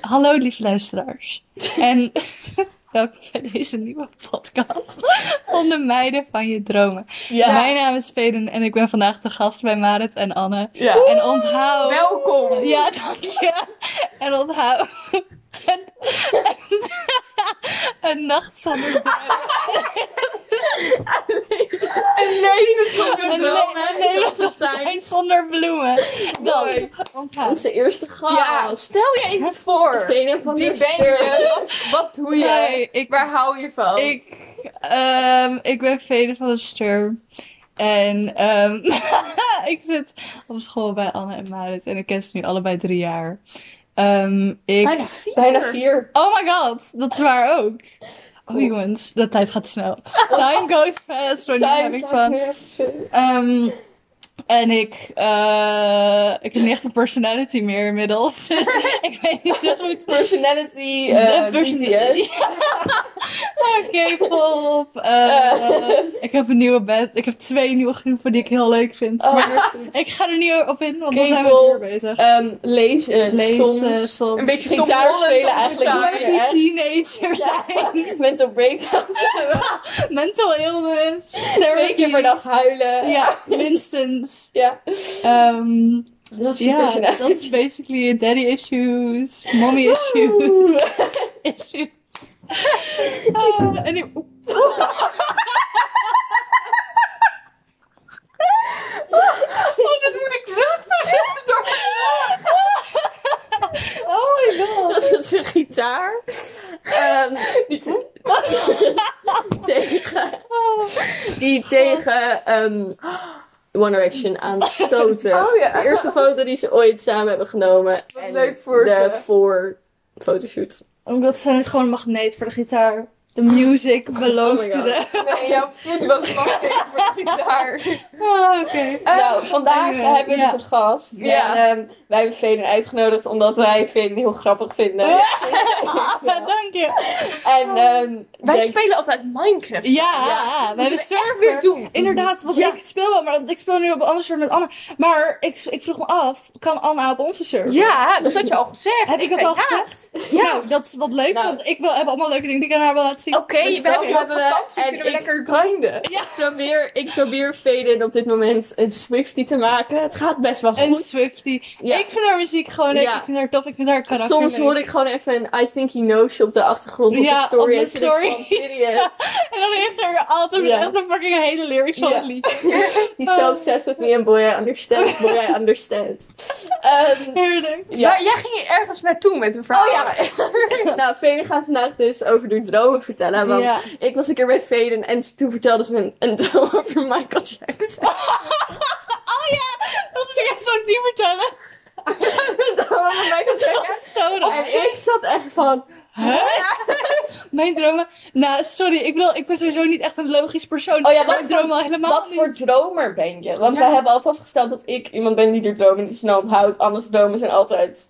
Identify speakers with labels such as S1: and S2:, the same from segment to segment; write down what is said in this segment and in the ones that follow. S1: Hallo lieve luisteraars. En welkom bij deze nieuwe podcast van de meiden van je dromen.
S2: Ja.
S1: Mijn naam is Veden en ik ben vandaag de gast bij Marit en Anne.
S2: Ja.
S1: En onthoud...
S2: Welkom!
S1: Ja, dank je. En onthoud... Een, een nacht zonder dromen.
S2: Een leven zonder
S1: Een le- een levenslantaarn zonder bloemen. Dat.
S2: Mooi.
S1: Onthoud.
S3: Onze eerste
S2: Ja,
S3: gast.
S2: stel je even voor.
S3: Venen van
S2: Wie
S3: der
S2: ben
S3: Sterren.
S2: je? Wat, wat doe je?
S1: Hey, ik
S2: Waar hou je
S3: Oh.
S2: van?
S1: Ik, ehm, ik ben Vede van de Sturm. En ehm, ik zit op school bij Anne en Marit. En ik ken ze nu allebei drie jaar. Ehm, ik...
S2: Bijna vier.
S3: Bijna vier.
S1: Oh my god, dat is waar ook. Oh jongens, de tijd gaat snel. Time goes fast when you're having fun. Ehm, en ik, eh, ik heb niet echt een personality meer inmiddels. Dus ik weet niet zo goed
S3: Personality.
S2: eh,
S1: de personality. Oké, volop.
S3: Eh.
S1: ik heb een nieuwe band. Ik heb twee nieuwe groepen die ik heel leuk vind.
S3: Oh.
S1: Maar ik ga er niet op in, want dan zijn we
S3: K-pop,
S1: weer bezig.
S2: Ehm, eh,
S3: lezen,
S1: Lezen
S3: Eh, soms.
S1: soms.
S2: Een beetje Tom
S3: Gitaar
S2: Holland,
S3: spelen
S2: Tom
S3: eigenlijk
S2: Sawyer.
S1: Waar
S3: niet
S1: die
S3: meer, hè?
S1: teenager zijn.
S3: Mental breakdowns.
S1: Mental illness.
S3: Twee keer per dag eh. huilen.
S1: Ja, minstens.
S3: Ja.
S1: Ehm,
S3: Dat is je
S1: ja,
S3: personality.
S1: dat is basically it. daddy issues, mommy issues, issues. Ah, en ik-
S2: Oh, dat moet ik zachter zetten door mijn mond.
S1: Oh my god.
S3: Dat is een gitaar. Ehm, die te- tegen.
S1: Oh
S3: Die tegen ehm, One Direction aanstoten.
S2: Oh ja.
S3: De eerste foto die ze ooit samen hebben genomen.
S2: Wat leuk voor
S3: de
S2: ze.
S3: voor fotoshoot.
S1: Omdat ze het gewoon een magneet voor de gitaar. The music belongs
S3: Oh my
S1: to
S3: God.
S1: the...
S2: Nee, jouw voet was nog even voor de gitaar.
S1: Ah, oké.
S3: nou, vandaag
S1: eh,
S3: hebben we
S1: ja.
S3: dus een gast.
S2: Ja.
S3: En ehm, wij hebben Veden uitgenodigd omdat wij Veden heel grappig vinden.
S1: Ah, dank je.
S3: En ehm,
S2: Wij
S3: denk-
S2: spelen altijd Minecraft.
S1: Ja, we hebben
S2: Moeten we
S1: server.
S2: weer doen.
S1: Inderdaad, want
S2: Ja.
S1: ik speel wel, maar want ik speel nu op een ander server met Anna. Maar ik, ik vroeg me af, kan Anna op onze server?
S2: Ja, dat had je al gezegd.
S1: Heb ik dat
S2: zei,
S1: al
S2: ja.
S1: gezegd?
S2: Ja.
S1: Nou, dat is wat leuk,
S3: Nou.
S1: want ik wil, heb allemaal leuke dingen die ik aan haar wil laten zien.
S2: Oké,
S3: Dus
S2: we
S3: dat
S2: hebben je op
S3: hebben we
S2: vakantie,
S3: en
S2: kunnen we
S3: ik-
S2: lekker grinden.
S1: Ja.
S3: Ik probeer, ik probeer Veden op dit moment een Swiftie te maken. Het gaat best wel
S1: En
S3: goed.
S1: Swifty.
S3: Ja.
S1: Ik vind haar muziek gewoon leuk,
S3: Ja.
S1: ik vind haar tof, ik vind haar karakter
S3: Soms
S1: leuk.
S3: hoor ik gewoon even een I think he knows je op de achtergrond op
S1: Ja,
S3: de story.
S1: op
S3: en
S1: de
S3: zit ik van,
S1: stories.
S3: "Idiot."
S1: En dan heeft ze altijd
S3: Ja.
S1: echt een fucking hele lyrics van
S3: Ja.
S1: het liedje.
S3: He's so obsessed with me and boy I understand. Boy I understand. Ehm,
S1: Heerlijk.
S3: ja.
S2: Maar jij ging ergens naartoe met een verhaal.
S3: Oh ja. nou, Veden gaat vandaag dus over de dromen vertellen. Want
S1: Ja.
S3: ik was een keer bij Veden en toen vertelde ze me een, een droom over Michael Jackson.
S1: Oh ja, dat is echt zo die vertellen. Oh,
S3: een droom over Michael
S1: Dat
S3: Jackson.
S1: is zo
S3: En
S1: raar.
S3: ik zat echt van,
S1: Mijn dromen. Nou, sorry, ik bedoel, ik ben sowieso niet echt een logisch persoon.
S3: Oh ja, wat
S1: mijn dromen
S3: voor-
S1: al helemaal
S3: wat
S1: niet.
S3: voor dromer ben je? Want
S2: Ja.
S3: wij hebben al vastgesteld dat ik iemand ben die de dromen niet snel onthoudt. Anders dromen zijn altijd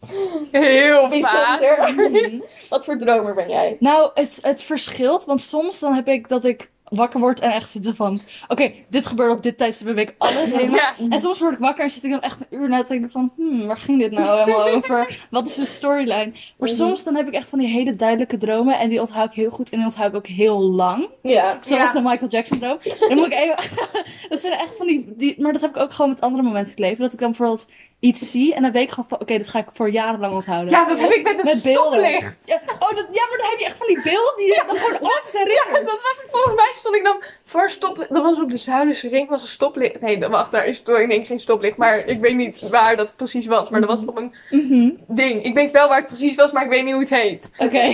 S2: Heel vaak.
S3: bijzonder.
S1: Mhm.
S3: Wat voor dromer ben jij?
S1: Nou, het, het verschilt, want soms dan heb ik dat ik wakker word en echt zitten van... Oké, dit gebeurt op dit tijdstip, heb ik alles helemaal...
S2: Ja.
S1: En soms word ik wakker en zit ik dan echt een uur na te denken van... Hmm, waar ging dit nou helemaal over? Wat is de storyline? Maar
S3: Mhm.
S1: soms dan heb ik echt van die hele duidelijke dromen en die onthoud ik heel goed en die onthoud ik ook heel lang.
S3: Ja.
S1: Zoals
S2: Ja.
S1: de Michael Jackson droom. Dan moet ik even... dat zijn echt van die, die... Maar dat heb ik ook gewoon met andere momenten in het leven. Dat ik dan bijvoorbeeld iets zie en dan weet ik gewoon van... Oké, dat ga ik voor jarenlang onthouden.
S2: Ja, dat heb ik met een
S1: Met beelden.
S2: stoplicht.
S1: Ja, oh, dat, ja, maar dan heb je echt van die beelden die je dan gewoon altijd
S2: Ja,
S1: herinnert.
S2: dat was het. Volgens mij stond ik dan voor een stoplicht. Dat was op de Zuidense Ring, was een stoplicht. Nee, dat- wacht, daar is toch ik denk geen stoplicht. Maar ik weet niet waar dat precies was. Maar dat was op een
S1: Mhm,
S2: ding. Ik weet wel waar het precies was, maar ik weet niet hoe het heet.
S1: Oké.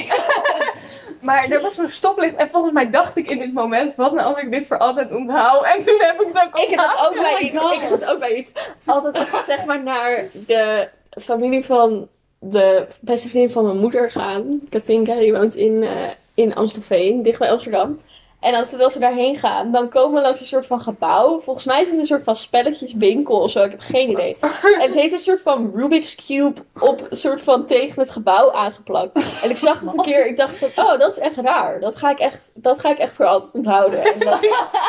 S2: Maar er was zo'n stoplicht. En volgens mij dacht ik in dit moment, wat nou als ik dit voor altijd onthoud? En toen heb ik dat ook
S3: Ik heb dat ook bij
S1: my
S3: iets.
S1: God.
S3: Ik heb dat ook bij iets. Altijd als ik zeg maar naar de familie van de beste vriendin van mijn moeder gaan. Katinka, die woont in, eh, in Amstelveen, dicht bij Amsterdam. En als, als ze daarheen gaan, dan komen we langs een soort van gebouw. Volgens mij is het een soort van spelletjeswinkel of zo. Ik heb geen idee. En het heeft een soort van Rubik's Cube op een soort van tegen het gebouw aangeplakt. En ik zag het een keer. Ik dacht van, oh, dat is echt raar. Dat ga ik echt, dat ga ik echt voor altijd onthouden. En dat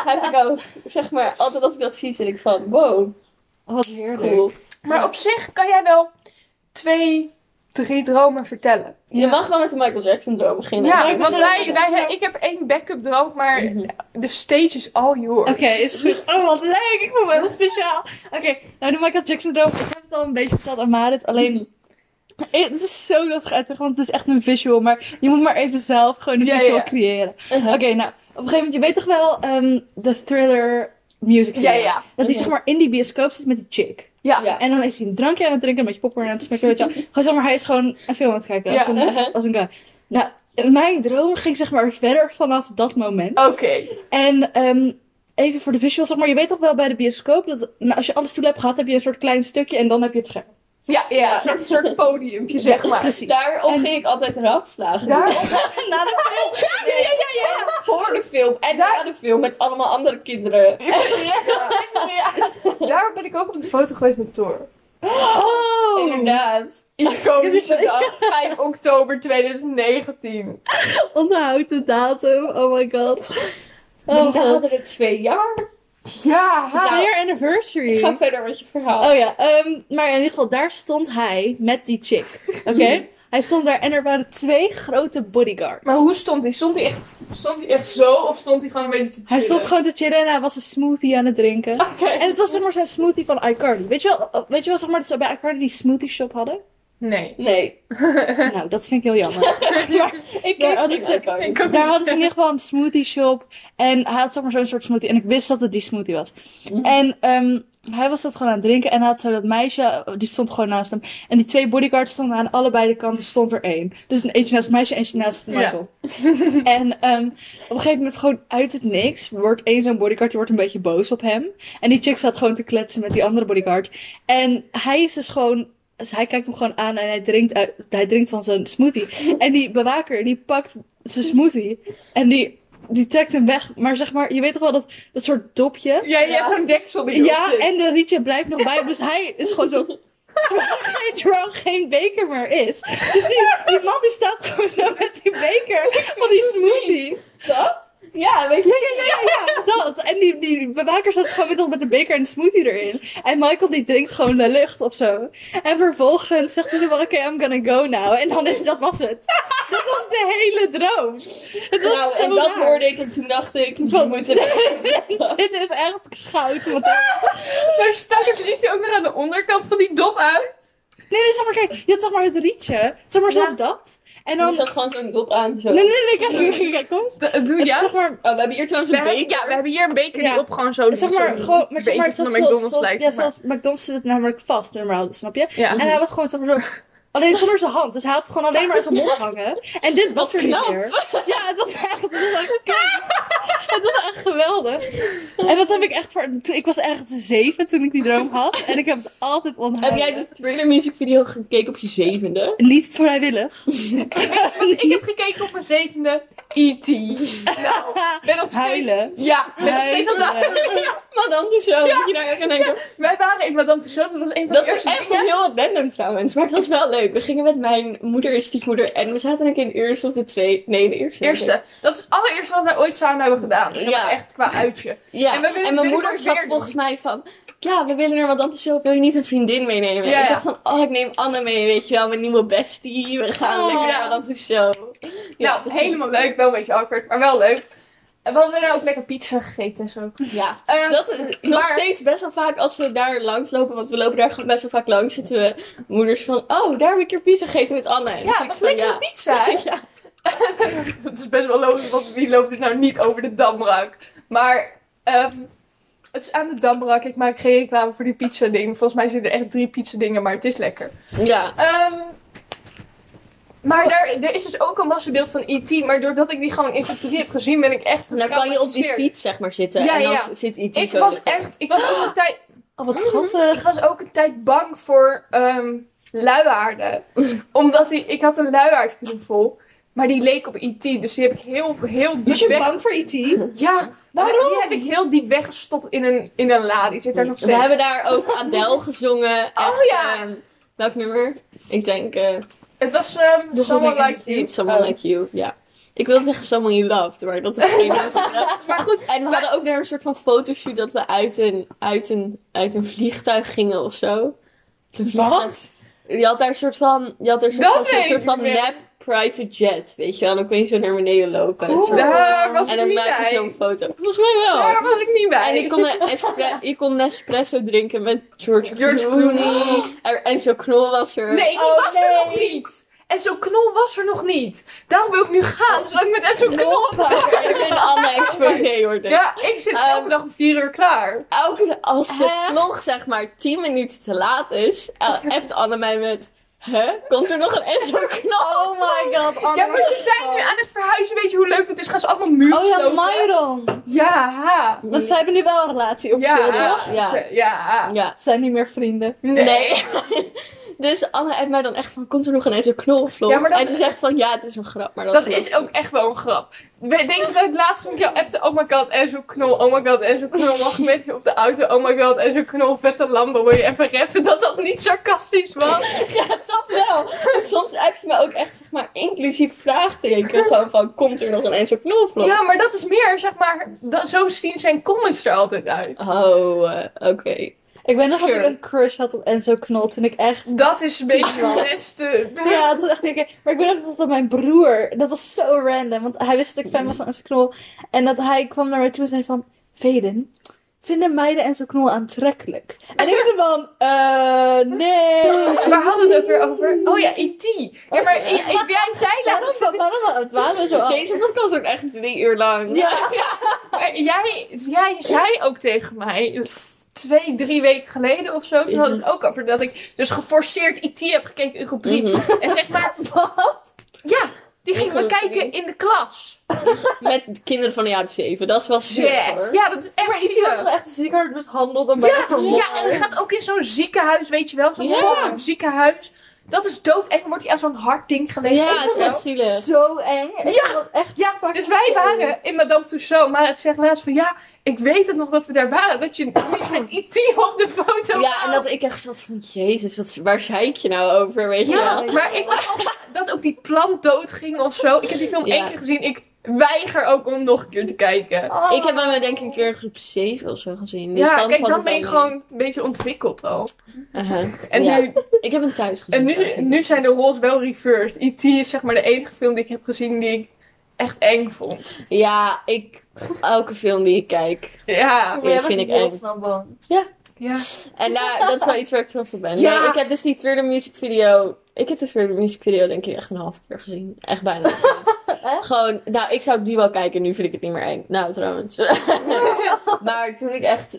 S3: heb ik ook zeg maar, altijd als ik dat zie, zit ik van, wow,
S1: Wat heerlijk.
S3: cool.
S2: Maar op zich kan jij wel twee drie dromen vertellen.
S3: Je mag wel met de Michael Jackson droom beginnen.
S1: zou
S2: Ja,
S1: ik
S2: want
S1: beginnen
S2: wij,
S1: met
S2: wij,
S1: Esther?
S2: ik heb één backup droom, maar
S3: Mhm.
S2: de stage is all yours.
S1: Oké, is goed. Oh, wat leuk. Ik voel me heel speciaal. Oké, nou de Michael Jackson droom. Ik heb het al een beetje verteld aan Marit. Alleen, het is zo lastig uit te leggen, want het is echt een visual. Maar je moet maar even zelf gewoon een
S2: Ja, ja,
S1: visual
S2: ja.
S1: creëren.
S3: Uh-huh.
S1: Oké, nou, op een gegeven moment, je weet toch wel ehm, de thriller music
S2: Ja,
S1: video?
S2: ja.
S1: Dat hij
S3: Mhm.
S1: zeg maar in die bioscoop zit met die chick.
S2: Ja.
S3: Ja.
S1: En dan is hij een drankje aan het drinken, een beetje popcorn aan het smaken, weet je wel. Gewoon zeg maar, hij is gewoon een film aan het kijken. Als,
S2: Ja.
S1: een, als een guy. Nou, mijn droom ging zeg maar verder vanaf dat moment.
S2: Oké.
S1: En ehm, even voor de visuals, zeg maar, je weet toch wel bij de bioscoop dat nou, als je alles toe hebt gehad, heb je een soort klein stukje en dan heb je het scherm.
S2: Ja, ja, een soort, soort podiumpje, zeg maar.
S1: Precies.
S3: Daarop
S1: En-
S3: ging ik altijd raadslagen.
S2: Daarop,
S1: Na de film.
S3: ja, ja, ja. Voor de film en
S2: Daar-
S3: na de film met allemaal andere kinderen.
S2: daarop ben ik ook op de foto geweest met Thor.
S1: Oh!
S3: Inderdaad.
S2: Iconische dag, 5 oktober 2019.
S1: Onthoud de datum, oh my god. Oh
S3: dan
S1: god.
S3: hadden we twee jaar.
S2: Ja, ha.
S1: Twee anniversary.
S3: Ik ga verder met je verhaal.
S1: Nou. Oh ja, ehm, maar in ieder geval, daar stond hij met die chick. Oké? Hij stond daar en er waren twee grote bodyguards.
S2: Maar hoe stond hij? Stond hij echt, stond hij echt zo of stond hij gewoon een beetje te chillen?
S1: Hij stond gewoon te chillen en hij was een smoothie aan het drinken.
S2: Oké.
S1: En het was zeg maar zijn smoothie van iCardi. Weet je wel, weet je wel zeg maar, dat ze bij iCardi die smoothie shop hadden?
S2: Nee.
S3: Nee.
S1: Nou, dat vind ik heel jammer.
S3: Ik
S1: Daar
S3: ken
S1: hadden
S3: geen
S1: ze-
S3: icoon.
S2: Ik ook
S1: Daar
S2: niet.
S1: hadden ze in ieder geval een smoothie shop. En hij had zeg maar zo'n soort smoothie. En ik wist dat het die smoothie was.
S3: Mhm.
S1: En ehm, hij was dat gewoon aan het drinken. En hij had zo dat meisje, die stond gewoon naast hem. En die twee bodyguards stonden aan allebei de kanten, stond er één. Dus een eentje naast het meisje en eentje naast Michael. en ehm, op een gegeven moment gewoon uit het niks wordt één zo'n bodyguard, die wordt een beetje boos op hem. En die chick zat gewoon te kletsen met die andere bodyguard. En hij is dus gewoon... Dus hij kijkt hem gewoon aan en hij drinkt, uit, hij drinkt van zijn smoothie. En die bewaker, die pakt zijn smoothie. En die, die trekt hem weg. Maar zeg maar, je weet toch wel dat, dat soort dopje?
S2: Ja, ja,
S3: Ja.
S2: zo'n deksel die erop
S1: Ja,
S2: zit.
S1: en de rietje blijft nog bij hem. Dus hij is gewoon zo... Terwijl geen, terwijl geen beker meer is. Dus die, die man die staat gewoon zo met die beker van die smoothie.
S3: Dat? Ja, weet je.
S1: Ja, ja, ja, dat. En die, die bewaker staat gewoon met, met de beker en de smoothie erin. En Michael die drinkt gewoon de lucht of zo. En vervolgens zegt hij zo van, oké, I'm gonna go now. En dan is dat was het. Dat was de hele droom. Het was
S3: Nou,
S1: zo
S3: en dat
S1: raar.
S3: hoorde ik en toen dacht ik, we
S1: Wat?
S3: moeten er-
S1: Dit is echt goud. Wat
S2: Maar stak het rietje ook nog aan de onderkant van die dop uit?
S1: Nee, nee, zeg maar, kijk, je had zeg maar het rietje, zeg maar
S2: Ja.
S1: zoals dat. En
S3: Er
S1: dan...
S3: zat gewoon zo'n dop aan. Zo.
S1: Nee, nee, nee, kijk, kijk, kijk, kom. eens.
S2: D- eh, doe
S1: Het is
S2: Oh, ja?
S1: zeg maar,
S3: Oh, we hebben hier trouwens
S2: We
S3: een
S2: hebben,
S3: beetje.
S2: ja, we hebben hier een beker
S1: Ja.
S2: die op gewoon zo'n
S1: zeg maar,
S2: zo'n
S1: gewoon, maar zeg maar,
S2: beker van de
S1: zoals-
S2: McDonald's
S1: zoals,
S2: lijkt.
S1: ja,
S2: maar-
S1: zoals McDonald's zit het namelijk vast, normaal, snap je?
S2: ja.
S1: En hij was gewoon, zeg maar, zo... Alleen zonder zijn hand. Dus hij had het gewoon alleen maar in zijn mond hangen. En dit was er niet
S3: knap.
S1: meer. Ja, het was echt, het was echt, het was echt geweldig. En dat heb ik echt voor, toen- ik was echt zeven toen ik die droom had. En ik heb het altijd onthouden.
S3: Heb jij de trailer music video gekeken op je zevende?
S1: Niet vrijwillig.
S2: Ik heb gekeken op mijn zevende E.T. Nou, ben nog steeds...
S1: Huilen.
S2: Ja, ben nog steeds aan het
S1: Huilen.
S3: Maar dan dus zo, dat je daar echt aan denkt.
S2: Wij waren in Madame Tussauds, dat was een van
S3: Dat
S2: de
S3: is
S2: eerste
S3: echt
S2: dingen.
S3: heel random trouwens, maar het was wel leuk. We gingen met mijn moeder en stiefmoeder en we zaten eigenlijk in de eerste of de twee, nee de eerste.
S2: Eerste. Dat is het allereerste wat wij ooit samen hebben gedaan. Dus
S3: Ja.
S2: echt qua uitje.
S3: Ja,
S2: En
S3: en,
S2: we willen
S3: mijn
S2: binnenkort
S3: moeder zat
S2: weer-
S3: volgens mij van, ja we willen naar Madame Tussauds, wil je niet een vriendin meenemen?
S2: Ja,
S3: ik
S2: ja.
S3: dacht van, oh ik neem Anne mee, weet je wel, mijn nieuwe bestie, we gaan
S1: Oh.
S3: lekker naar Madame Tussauds. Ja,
S2: nou,
S3: precies.
S2: helemaal leuk. Wel een beetje awkward, maar wel leuk. En we hadden daar ook lekker pizza gegeten en zo.
S3: Ja,
S2: Eh,
S3: dat is nog
S2: maar-
S3: steeds best wel vaak als we daar langs lopen, want we lopen daar gewoon best wel vaak langs, zitten we moeders van, oh daar heb ik keer pizza gegeten met Anne. En dan zeg
S2: ja,
S3: ik
S2: was
S3: van,
S2: lekkere
S3: ja.
S2: pizza. hè?
S3: Ja.
S2: Het is best wel logisch, want wie loopt er nou niet over de Damrak? Maar ehm, het is aan de Damrak. Ik maak geen reclame voor die pizza ding. Volgens mij zitten er echt drie pizza dingen, maar het is lekker.
S3: ja.
S2: Ehm, maar daar, er is dus ook een massabeeld van E.T. Maar doordat ik die gewoon in Factory heb gezien, ben ik echt
S3: En dan kan je op die
S2: getraumatiseerd.
S3: fiets zeg maar zitten
S2: Ja,
S3: en dan
S2: ja.
S3: zit iets
S2: Ik was echt, ik was ook een tijd,
S1: Oh, wat schattig.
S2: ik was ook een tijd bang voor ehm luiaarden. Omdat die, ik had een luiaard vol. Maar die leek op E.T. Dus die heb ik heel, heel diep
S1: Was je
S2: weg.
S1: bang voor E E.T.?
S2: Ja, waarom? Die heb ik heel diep weggestopt in een, in een la. Die zit daar nog
S3: We
S2: steeds.
S3: hebben daar ook Adele gezongen.
S2: Oh,
S3: Echt,
S2: ja.
S3: ehm, welk nummer? Ik denk eh
S2: Het was ehm
S1: De
S2: Someone
S1: Goede
S2: Like You. Eh,
S3: Someone
S1: Oh.
S3: Like You. Ja. Ik wilde zeggen Someone You Loved, maar dat is geen
S2: Maar goed,
S3: En we hadden ook weer een soort van fotoshoot dat we uit een, uit een, uit een vliegtuig gingen of zo. Een vliegtuig.
S1: Wat?
S3: Je had daar een soort van, je had daar een soort
S2: Dat
S3: van,
S2: weet
S3: soort, soort
S2: ik
S3: van
S2: niet meer.
S3: nap private jet, weet je wel. En dan kon je zo naar beneden lopen. Een soort van-
S2: Daar was
S3: en
S2: ik
S3: dan
S2: niet
S3: maakte
S2: bij.
S3: je zo'n foto. Volgens mij wel.
S2: Daar was ik niet bij.
S3: En ik kon, een espre- je kon Nespresso drinken met George,
S2: George
S3: Clooney. En, en zo'n knol was er.
S2: Nee, die
S1: Oh,
S2: was
S1: nee.
S2: er nog niet. En zo'n knol was er nog niet. Daarom wil ik nu gaan, zodat ik met Enzo knol...
S3: Ik ben een ander exposé hoor. denk ik.
S2: Ja, ik zit elke
S3: Ehm,
S2: dag om vier uur klaar.
S3: Elke, als de
S1: Echt?
S3: vlog zeg maar 10 minuten te laat is, eh, appt Anne mij met... Huh? Komt er nog een Enzo knol?
S1: Oh my god, Anne.
S2: Ja, maar ze zijn nu aan het verhuizen. Weet je hoe leuk het is? Gaan ze allemaal muren
S1: Oh ja, Myron.
S2: Oh, Ja, ha.
S1: Want zij hebben nu wel een relatie of
S2: Ja,
S1: zo,
S2: ja.
S1: toch?
S3: toch?
S2: Ja.
S3: Ja.
S1: Ze Zijn niet meer vrienden.
S2: Nee.
S3: Nee. dus Anne appt mij dan echt van, komt er nog een Enzo knol vlog?
S2: Ja, maar dat-
S3: En ze zegt van, ja, het is een grap. Maar dat,
S2: Dat
S3: geloof
S2: is
S3: ik
S2: ook echt wel een grap. We- Denk je dat ik laatst toen ik jou appte, oh my god, Enzo Knol, oh my god, Enzo Knol, mag ik met je op de auto, oh my god, Enzo Knol, vette Lambo, wil je even reffen, dat dat niet sarcastisch was?
S3: Dat wel. Maar soms heb je me ook echt, zeg maar, inclusief vraagteken. Gewoon van, komt er nog een Enzo Knol
S2: Ja, maar dat is meer, zeg maar, dat, zo zien zijn comments er altijd uit.
S3: Oh, eh, oké.
S1: Ik weet nog dat
S2: Sure.
S1: ik een crush had op Enzo Knol toen ik echt...
S2: Dat is een beetje
S1: Ja.
S2: het beste.
S1: Ja, dat was echt oké. Maar ik weet ook nog dat mijn broer... Dat was zo random. Want hij wist dat ik fan was van Enzo Knol. En dat hij kwam naar mij toe en zei van... Veden, vinden meiden Enzo Knol aantrekkelijk? En ik zei van... eh nee.
S2: Waar hadden we het ook weer over? Oh ja, E.T. Ja, maar E- i- i- jij zei
S1: Waarom,
S2: laatst,
S1: waarom, het waren we zo af?
S3: Deze podcast ook echt drie uur lang.
S1: Ja.
S2: maar jij, jij zei ook tegen mij, twee, drie weken geleden of zo, toen had
S3: Mhm.
S2: het ook over dat ik dus geforceerd E.T. heb gekeken in groep drie.
S3: Mhm.
S2: En zeg maar,
S1: Wat?
S2: Ja, die gingen we
S3: groep
S2: kijken
S3: drie.
S2: in de klas.
S3: Met de kinderen van de jaren zeven. Dat was zielig hoor.
S2: Ja, dat is echt
S1: Maar iets wordt
S2: zielig.
S1: wel echt ziek hard mishandeld en bijna
S2: Ja,
S1: vermoord.
S2: ja, en die gaat ook in zo'n ziekenhuis, weet je wel. Zo'n
S3: Ja.
S2: pop-up ziekenhuis. Dat is dood. En dan wordt hij aan zo'n hard ding gelegd.
S3: Ja, het is
S2: weet je wel.
S3: echt zielig.
S1: Zo eng. Ik
S2: Ja.
S1: vond dat echt
S2: Ja, dus wij waren in Madame Tussauds. Maar het zegt laatst van, ja, ik weet het nog dat we daar waren. Dat je niet met IT op de foto
S3: Ja, en
S2: wou.
S3: dat ik echt zat van, jezus, wat, waar zei ik je nou over, weet je
S2: Ja,
S3: wel?
S2: maar ik was ook- dat ook die plant doodging of zo. Ik heb die film
S3: Ja.
S2: één keer gezien. Ik weiger ook om nog een keer te kijken.
S1: Oh.
S3: Ik heb bij mij denk ik een keer in groep 7 of zo gezien. Dus
S2: Ja,
S3: dan
S2: kijk,
S3: valt
S2: dan
S3: het
S2: ben je
S3: wel
S2: gewoon een beetje ontwikkeld al.
S3: mee. Aha.
S2: En
S3: Ja.
S2: nu
S3: Ik heb hem thuis gezien.
S2: En nu,
S3: trouwens.
S2: nu zijn de roles wel reversed. E.T. is zeg maar de enige film die ik heb gezien die ik echt eng vond.
S3: Ja, ik, elke film die ik kijk.
S2: Ja.
S1: Maar jij
S3: vind
S1: bent
S3: ik
S1: heel
S3: eng.
S1: snel bang.
S2: Ja.
S3: En daar, dat is wel iets waar ik trots op ben.
S2: Ja.
S3: Nee, ik heb dus die Thriller music video. Ik heb de Thriller music video denk ik echt een half keer gezien. Echt bijna.
S1: Echt?
S3: Gewoon, nou, ik zou die wel kijken. Nu vind ik het niet meer eng. Nou, trouwens. maar toen ik echt,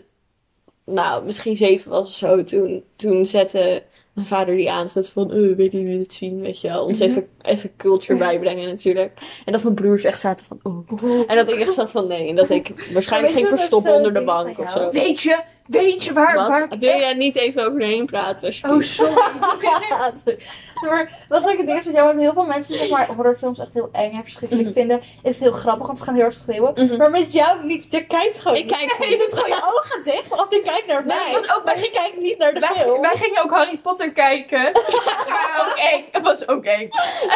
S3: nou, misschien zeven was of zo. Toen, toen zette mijn vader die aan. Zodat van, eh, weet je wie dit zien? Weet je wel. Ons even, even culture bijbrengen natuurlijk. En dat mijn broers echt zaten van, oh. En dat ik echt zat van, nee. En dat ik waarschijnlijk
S1: Maar weet je
S3: ging
S1: wat ook
S3: verstoppen
S1: zo'n
S3: onder de
S1: ding is
S3: bank
S1: van
S3: of
S1: jou?
S3: zo.
S2: Weet je, weet je waar, waar
S3: Wat?
S2: ik
S3: Wil
S2: echt-
S3: jij niet even overheen praten? alsjeblieft?
S2: Oh, sorry.
S1: Ja, maar wat ik het eerst is, ja, want heel veel mensen zeg maar horrorfilms echt heel eng en verschrikkelijk
S3: Mhm.
S1: vinden, is het heel grappig, want ze gaan heel erg schreeuwen.
S3: Mhm.
S1: Maar met jou niet, je kijkt gewoon.
S3: Ik
S1: niet.
S3: kijk
S1: je
S3: niet.
S1: doet gewoon je ogen dicht, want je kijkt naar
S2: Nee,
S1: mij.
S2: want ook
S1: maar
S2: bij-
S1: je kijkt niet naar de
S2: wij,
S1: film.
S2: wij gingen ook Harry Potter kijken. Maar ook eng. Het was ook eng.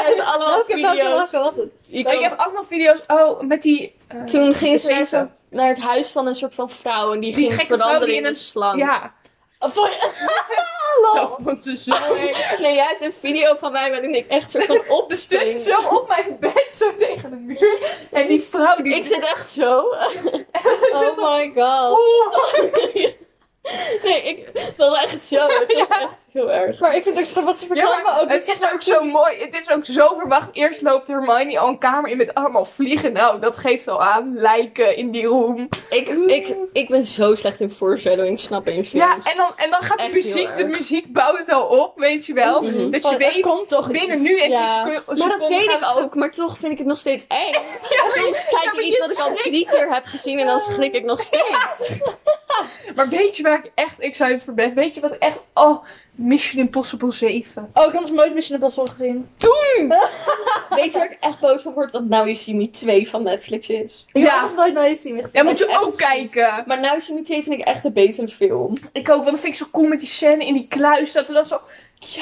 S3: En allemaal
S1: welke, welke,
S3: video's.
S1: welke was het?
S3: Je
S2: Ik
S3: kan-
S2: heb ook nog video's. Oh, met die. eh,
S3: Toen gingen ze naar,
S2: Zeven.
S3: zo- naar het huis van een soort van vrouw en die,
S2: Die
S3: ging
S2: gekke vrouw
S3: veranderen
S2: die
S3: in
S2: in
S3: een slang.
S2: ja.
S3: Oh, voor-
S2: Dat vond ze zo eng.
S3: Nee, jij hebt een video van mij waarin ik echt soort van op
S2: Dus zit ze zo op mijn bed, zo tegen de muur. En die vrouw die.
S3: Ik zit echt zo.
S1: Oh my god.
S2: Oh.
S3: Nee, ik dat was echt zo. Het was echt heel erg.
S1: Maar ik vind het ook zo wat ze
S2: Ja,
S1: verklappen
S2: maar
S1: ook.
S2: het is ook zo mooi. Het is ook zo verwacht. Eerst loopt Hermione al een kamer in met allemaal vliegen. Nou, dat geeft al aan. Lijken in die room.
S3: Ik, ik, ik ben zo slecht in foreshadowing, snappen in films.
S2: Ja, en dan, en dan gaat de
S3: Echt heel
S2: muziek.
S3: erg.
S2: De muziek bouwt al op, weet je wel.
S3: Mhm.
S2: Dat je
S1: Van, er
S2: weet,
S1: Oh, komt toch
S2: binnen
S1: iets.
S2: nu en
S3: Ja.
S2: ja.
S3: Maar dat weet ik ook, maar toch vind ik het nog steeds eng. Soms kijk ik iets wat ik al drie keer heb gezien en dan schrik ik nog steeds.
S2: Maar weet je waar ik echt excited voor ben? Weet je wat echt... Oh, Mission Impossible 7.
S1: Oh, ik heb nog nooit Mission Impossible gezien.
S3: Weet je waar ik echt boos op word? Dat Nou You See Me 2 van Netflix is.
S1: Ik
S2: Ja.
S1: heb nog nooit naar je zien gezien.
S2: Ja, moet je
S3: echt
S2: ook
S3: goed.
S2: kijken.
S3: Maar Nou You See Me 2 vind ik echt een betere film.
S2: Ik ook, want dat vind ik zo cool met die scène in die kluis. Dat we dan zo...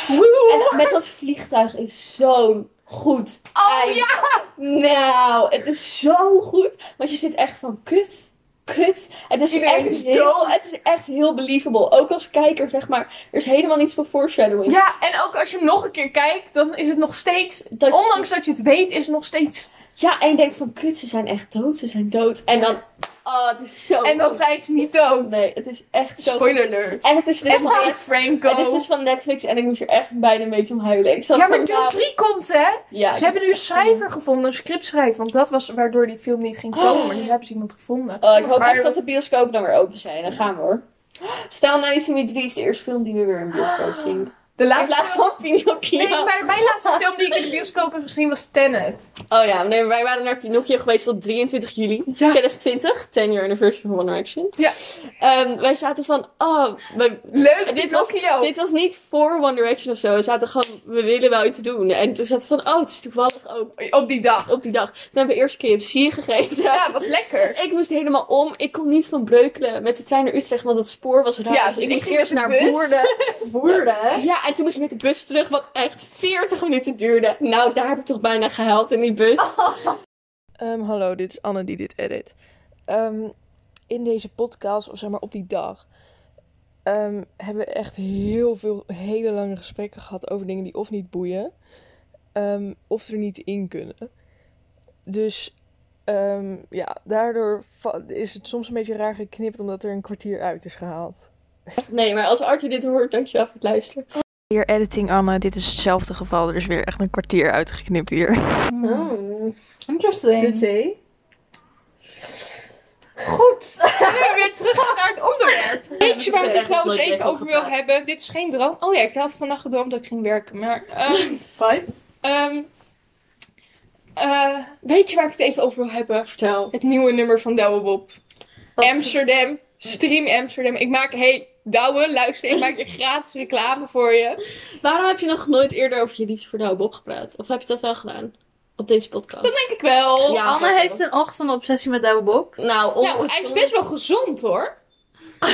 S3: En met dat vliegtuig is zo'n goed.
S2: Oh
S3: eind. Nou, het is zo goed. Want je zit echt van kut. kut. Het is,
S2: Iedereen
S3: echt
S2: is
S3: heel, het is echt heel believable. Ook als kijker, zeg maar. Er is helemaal niets van foreshadowing.
S2: Ja, en ook als je hem nog een keer kijkt, dan is het nog steeds.
S3: Dat je-
S2: Ondanks dat je het weet, is het nog steeds.
S3: Ja, en je denkt van, kut, ze zijn echt dood. Ze zijn dood. En dan... Oh, het is zo
S2: En dan
S3: goed.
S2: zijn ze niet dood.
S3: Nee, het is echt zo...
S2: Spoiler alert.
S3: En het is dus
S2: En
S3: van...
S2: Dave Franco.
S3: Het is dus van Netflix en ik moest er echt bijna een beetje om huilen. Ik zat
S2: ja, maar
S3: van,
S2: deel
S3: nou,
S2: 3 komt, hè?
S3: ja,
S2: Ze hebben nu een schrijver gevonden, een scriptschrijver. Want dat was waardoor die film niet ging komen. Maar nu hebben ze iemand gevonden.
S3: Oh, ik hoop
S2: Maar-
S3: echt dat de bioscopen dan weer open zijn. Dan gaan we hoor. Stel nou is niet 3 is de eerste film die we weer in de bioscoop zien.
S2: De
S3: In
S2: laatste
S3: plaats
S2: film...
S3: van Pinocchio.
S2: Ah. Nee, maar mijn laatste film die ik in de bioscoop heb gezien was Tenet.
S3: Oh ja, nee, wij waren naar Pinocchio geweest op 23 juli
S2: Ja.
S3: 2020. 10 year anniversary van One Direction.
S2: Ja.
S3: Ehm, wij zaten van, oh, wij-
S2: Leuk,
S3: Dit
S2: dit
S3: was-
S2: was jou.
S3: dit was niet voor One Direction of zo. We zaten gewoon, we willen wel iets doen. En toen zaten we van, oh, het is toevallig ook
S2: Op die dag.
S3: op die dag. Toen hebben we eerst KFC gegeten.
S2: Ja, wat lekker.
S3: Ik moest helemaal om. Ik kon niet van Breukelen met de trein naar Utrecht, want het spoor was raar.
S2: Ja,
S3: dus
S2: dus
S3: ik
S2: ik
S3: moest
S2: ging
S3: eerst
S2: met de
S3: naar
S2: bus.
S3: Woerden.
S1: Woerden?
S3: Ja, en toen moest ik met de bus terug, wat echt 40 minuten duurde. Nou, daar heb ik toch bijna gehuild in die bus.
S2: Oh.
S4: Ehm, hallo, dit is Anne die dit edit. Ehm, in deze podcast, of zeg maar op die dag, ehm, hebben we echt heel veel hele lange gesprekken gehad over dingen die of niet boeien, ehm, of er niet in kunnen. Dus ehm, ja, daardoor va- is het soms een beetje raar geknipt omdat er een kwartier uit is gehaald.
S3: Nee, maar als Arthur dit hoort, dankjewel voor het luisteren.
S4: Weer editing, Anne. Dit is hetzelfde geval. Er is weer echt een kwartier uitgeknipt hier.
S2: Hmm.
S1: Interesting.
S3: thee?
S2: Goed. Zullen we weer terug naar het onderwerp? Weet je waar ik
S3: Ja,
S2: het trouwens
S3: dat is
S2: even
S3: leuk,
S2: over
S3: dat is
S2: wil hebben? Dit is geen droom. Oh ja, ik had vannacht gedroomd dat ik ging werken. Maar, ehm,
S3: Fijn.
S2: ehm, eh, weet je waar ik het even over wil hebben?
S3: Vertel.
S2: Het nieuwe nummer van Douwe Bob.
S3: Wat-
S2: Amsterdam. Stream Amsterdam. Ik maak, hey Douwe, luister, ik maak een gratis reclame voor je.
S3: Waarom heb je nog nooit eerder over je liefde voor Douwe Bob gepraat? Of heb je dat wel gedaan? Op deze podcast?
S2: Denk ik wel.
S3: Ja,
S5: Anne
S3: vast wel.
S5: heeft een ochtendobsessie met Douwe Bob.
S3: Nou,
S2: nou, hij is best wel gezond hoor.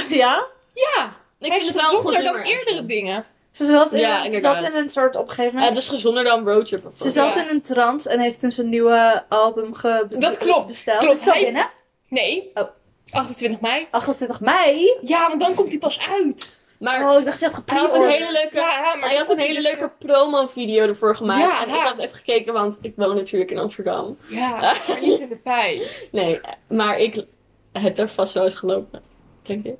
S5: ja?
S2: Ja,
S3: Ik
S2: hij
S3: vind
S2: is
S3: het wel een goed
S2: gezonder dan
S3: nummer.
S2: eerdere dingen.
S5: Ze zat in,
S3: Ja,
S5: ze
S3: inderdaad.
S5: zat in een soort op een gegeven
S3: Ja,
S5: moment.
S3: het is gezonder dan Roadtrip
S5: ze
S3: bijvoorbeeld.
S5: zat
S2: ja.
S5: in een trance en heeft toen zijn nieuwe album ge
S2: Dat klopt,
S5: besteld.
S2: klopt.
S5: Is dat
S2: Hij-
S5: binnen?
S2: Nee.
S5: Oh.
S2: 28 mei.
S5: 28 mei?
S2: Ja, want dan komt hij pas uit.
S3: Maar
S5: Oh, ik dacht je had
S3: hij had een hele
S5: gepreorderd.
S3: leuke...
S2: Ja,
S3: Maar je had
S2: dan
S3: een
S2: komt
S3: hele
S2: hij dus
S3: leuke promo-video ervoor gemaakt.
S2: Ja,
S3: en
S2: ja.
S3: ik had even gekeken, want ik woon natuurlijk in Amsterdam.
S2: weer- Ja, maar niet in de pij.
S3: Nee, maar ik heb er vast wel eens gelopen. Denk ik.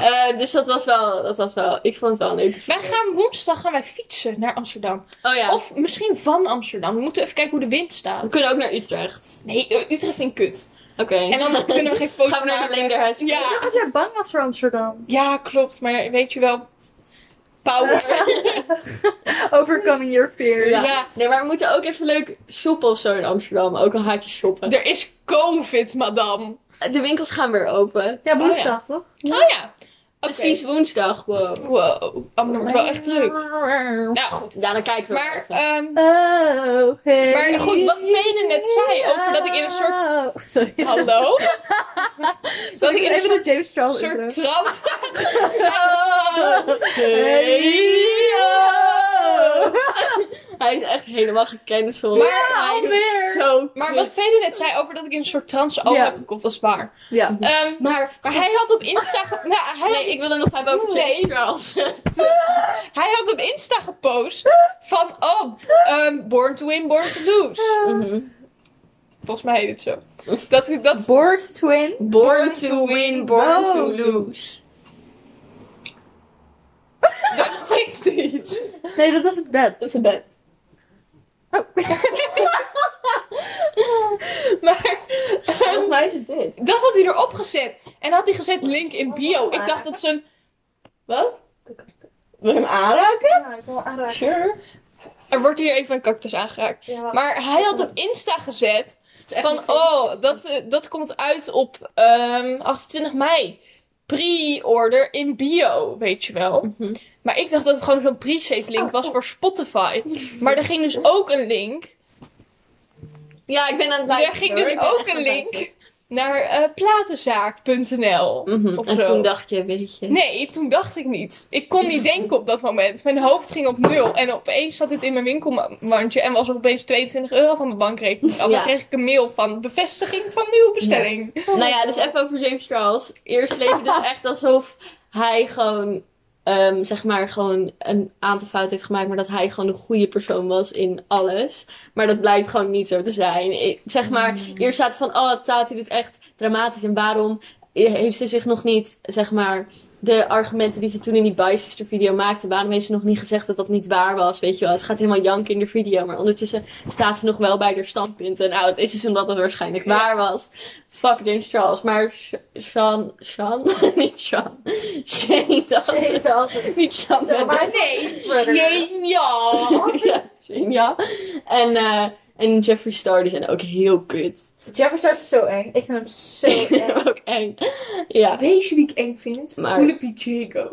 S3: Eh, dus dat was, wel, dat was wel... Ik vond het wel een leuke
S2: Wij
S3: video.
S2: gaan woensdag gaan wij fietsen naar Amsterdam.
S3: Oh ja,
S2: Of misschien van Amsterdam. We moeten even kijken hoe de wind
S3: we
S2: staat.
S3: kunnen ook naar Utrecht.
S2: Nee, eh, Utrecht vind ik kut.
S3: Oké.
S2: En dan kunnen we geen foto
S3: Gaan we naar de
S2: maken.
S3: Leenderhuis?
S5: Ik
S2: Ja,
S5: dacht dat jij bang was voor Amsterdam.
S2: ja, klopt. Maar weet je wel... Power.
S5: Overcoming your fears.
S3: Ja.
S2: Ja.
S3: Nee, maar we moeten ook even leuk shoppen of zo in Amsterdam. Ook een haartje shoppen. De,
S2: er is covid, madame.
S3: winkels gaan weer open.
S5: Ja, woensdag toch?
S2: Oh ja. Oké.
S3: Precies woensdag, wow.
S2: Wow. Oh, maar dat wordt wel echt leuk. Nou, goed.
S3: Ja, dan kijken we wel
S2: Maar,
S3: even.
S2: ehm
S5: Oh, hey.
S2: maar goed, wat Vene net zei over dat ik in een soort...
S5: Oh, Sorry.
S2: Hallo? dat
S5: Sorry,
S2: ik
S5: ik
S2: in een
S5: even
S2: soort,
S5: de James Charles intro.
S2: soort trance...
S3: Hey, oh. Hij is echt helemaal gecanceld.
S2: Maar
S3: hij doet
S5: alweer.
S3: Zo
S2: Maar
S3: kut.
S2: wat Vene net zei over dat ik in een soort trance album
S5: Ja.
S2: heb gekocht, dat is waar.
S5: Ja.
S2: Ehm,
S3: Maar,
S2: maar hij had op Insta... ge- Nou, hij,
S3: nee, ik wil het nog hebben over
S2: Nee.
S3: James Charles.
S2: hij had op Insta gepost van... Oh, ehm, Born to Win, Born to Lose.
S3: Mhm.
S2: Volgens mij heet het zo. Dat, dat,
S5: Bored twin.
S3: Born to win, born to lose.
S2: dat klinkt niet.
S5: Nee, dat was het bed.
S3: Dat is een bed. Oh.
S2: Maar...
S3: Volgens mij is het dit.
S2: Dat had hij erop gezet. En had hij gezet link in bio. Ik dacht dat ze een...
S3: Wat? Wil je hem aanraken?
S5: Ja, ik wil aanraken.
S3: Sure.
S2: Er wordt hier even een cactus aangeraakt.
S5: Ja, wacht.
S2: Maar hij had op Insta gezet
S5: echt
S2: van...
S5: een
S2: Oh, dat, eh, dat komt uit op ehm, 28 mei. Pre-order in bio, weet je wel.
S3: Mhm.
S2: Maar ik dacht dat het gewoon zo'n pre-save
S3: Oh,
S2: link was voor Spotify. Maar er ging dus ook een link.
S3: Ja, ik ben aan het
S2: Er
S3: luisteren.
S2: ging
S3: hoor.
S2: dus
S3: Ik ben
S2: ook
S3: echt aan
S2: een
S3: het
S2: link
S3: luisteren.
S2: naar eh, platenzaak.nl.
S3: Mhm.
S2: Of
S3: En
S2: zo.
S3: toen dacht je, weet je.
S2: Nee, toen dacht ik niet. Ik kon niet denken op dat moment. Mijn hoofd ging op nul. En opeens zat het in mijn winkelmandje en was er opeens 22 euro van mijn bankrekening. af.
S3: Ja.
S2: Dan kreeg ik een mail van bevestiging van nieuwe bestelling.
S3: nou ja, dus even over James Charles. Eerst leek het dus echt alsof hij gewoon, ehm, zeg maar, gewoon een aantal fouten heeft gemaakt. Maar dat hij gewoon de goede persoon was in alles. Maar dat blijkt gewoon niet zo te zijn. Ik- zeg maar, eerst zaten van, oh, Tati doet echt dramatisch. En waarom heeft ze zich nog niet, zeg maar... De argumenten die ze toen in die Bye Sister video maakte, waarom heeft ze nog niet gezegd dat dat niet waar was? Weet je wel, ze gaat helemaal janken in de video, maar ondertussen staat ze nog wel bij haar standpunten. Nou, het is dus omdat het waarschijnlijk waar was. Fuck James Charles, maar Sh- Sean, Sean, niet Sean, Shane Dawson, niet Sean
S5: Zo, maar
S3: Mendes.
S5: nee,
S2: Geniaal!
S3: ja, Shane, ja. En, eh, en Jeffree Star, die zijn ook heel kut.
S5: Jefferson is zo eng. Ik vind hem zo
S3: Ik vind
S5: eng.
S3: hem ook eng. Ja,
S2: Weet je wie ik eng vind?
S3: Maar-
S2: Coole Piet Jago.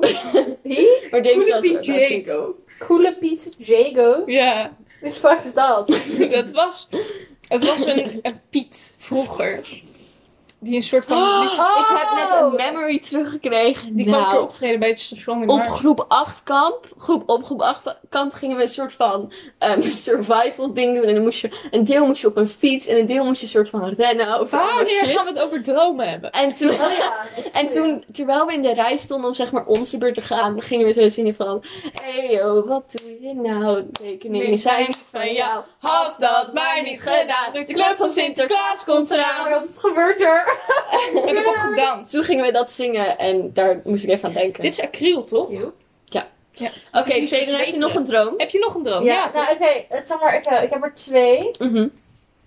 S5: Wie?
S3: maar James
S2: Coole
S3: Charles
S2: Piet
S3: is ook wel kut.
S2: Jago.
S5: Coole Piet Jago.
S2: Ja,
S5: Wie de fuck is dat?
S2: dat was, het was een, een Piet vroeger. Die een soort van...
S3: Oh,
S2: die-
S3: Ik heb net een memory teruggekregen.
S2: Die kwam een keer
S3: nou,
S2: optreden bij het station in
S3: op
S2: Marken.
S3: groep 8 kamp, groep, op groep 8 kamp gingen we een soort van ehm, survival ding doen. En dan moest je, een deel moest je op een fiets en een deel moest je een soort van rennen. Of
S2: Wanneer gaan we het over dromen hebben?
S3: En toen,
S5: Oh ja, dat is
S3: en
S5: goed.
S3: toen, terwijl we in de rij stonden om zeg maar onze beurt te gaan, gingen we zo zien van... Hey yo, wat doe je nou? Tekeningen zijn niet van jou. Had dat maar niet gedaan. De club van Sinterklaas komt
S5: Oh,
S3: eraan.
S5: dat is gebeurd hoor.
S2: We hebben gewoon gedanst.
S3: Toen gingen we dat zingen en daar moest ik even aan denken.
S2: Dit is acryl, toch?
S3: Oké,
S2: dit
S3: Shaden, heb
S2: is
S3: je
S2: bezweten.
S3: nog een droom?
S2: Heb je nog een droom?
S5: Ja,
S2: toch?
S5: nou oké. het Zeg maar, ik, eh, ik heb er twee.
S3: Mhm.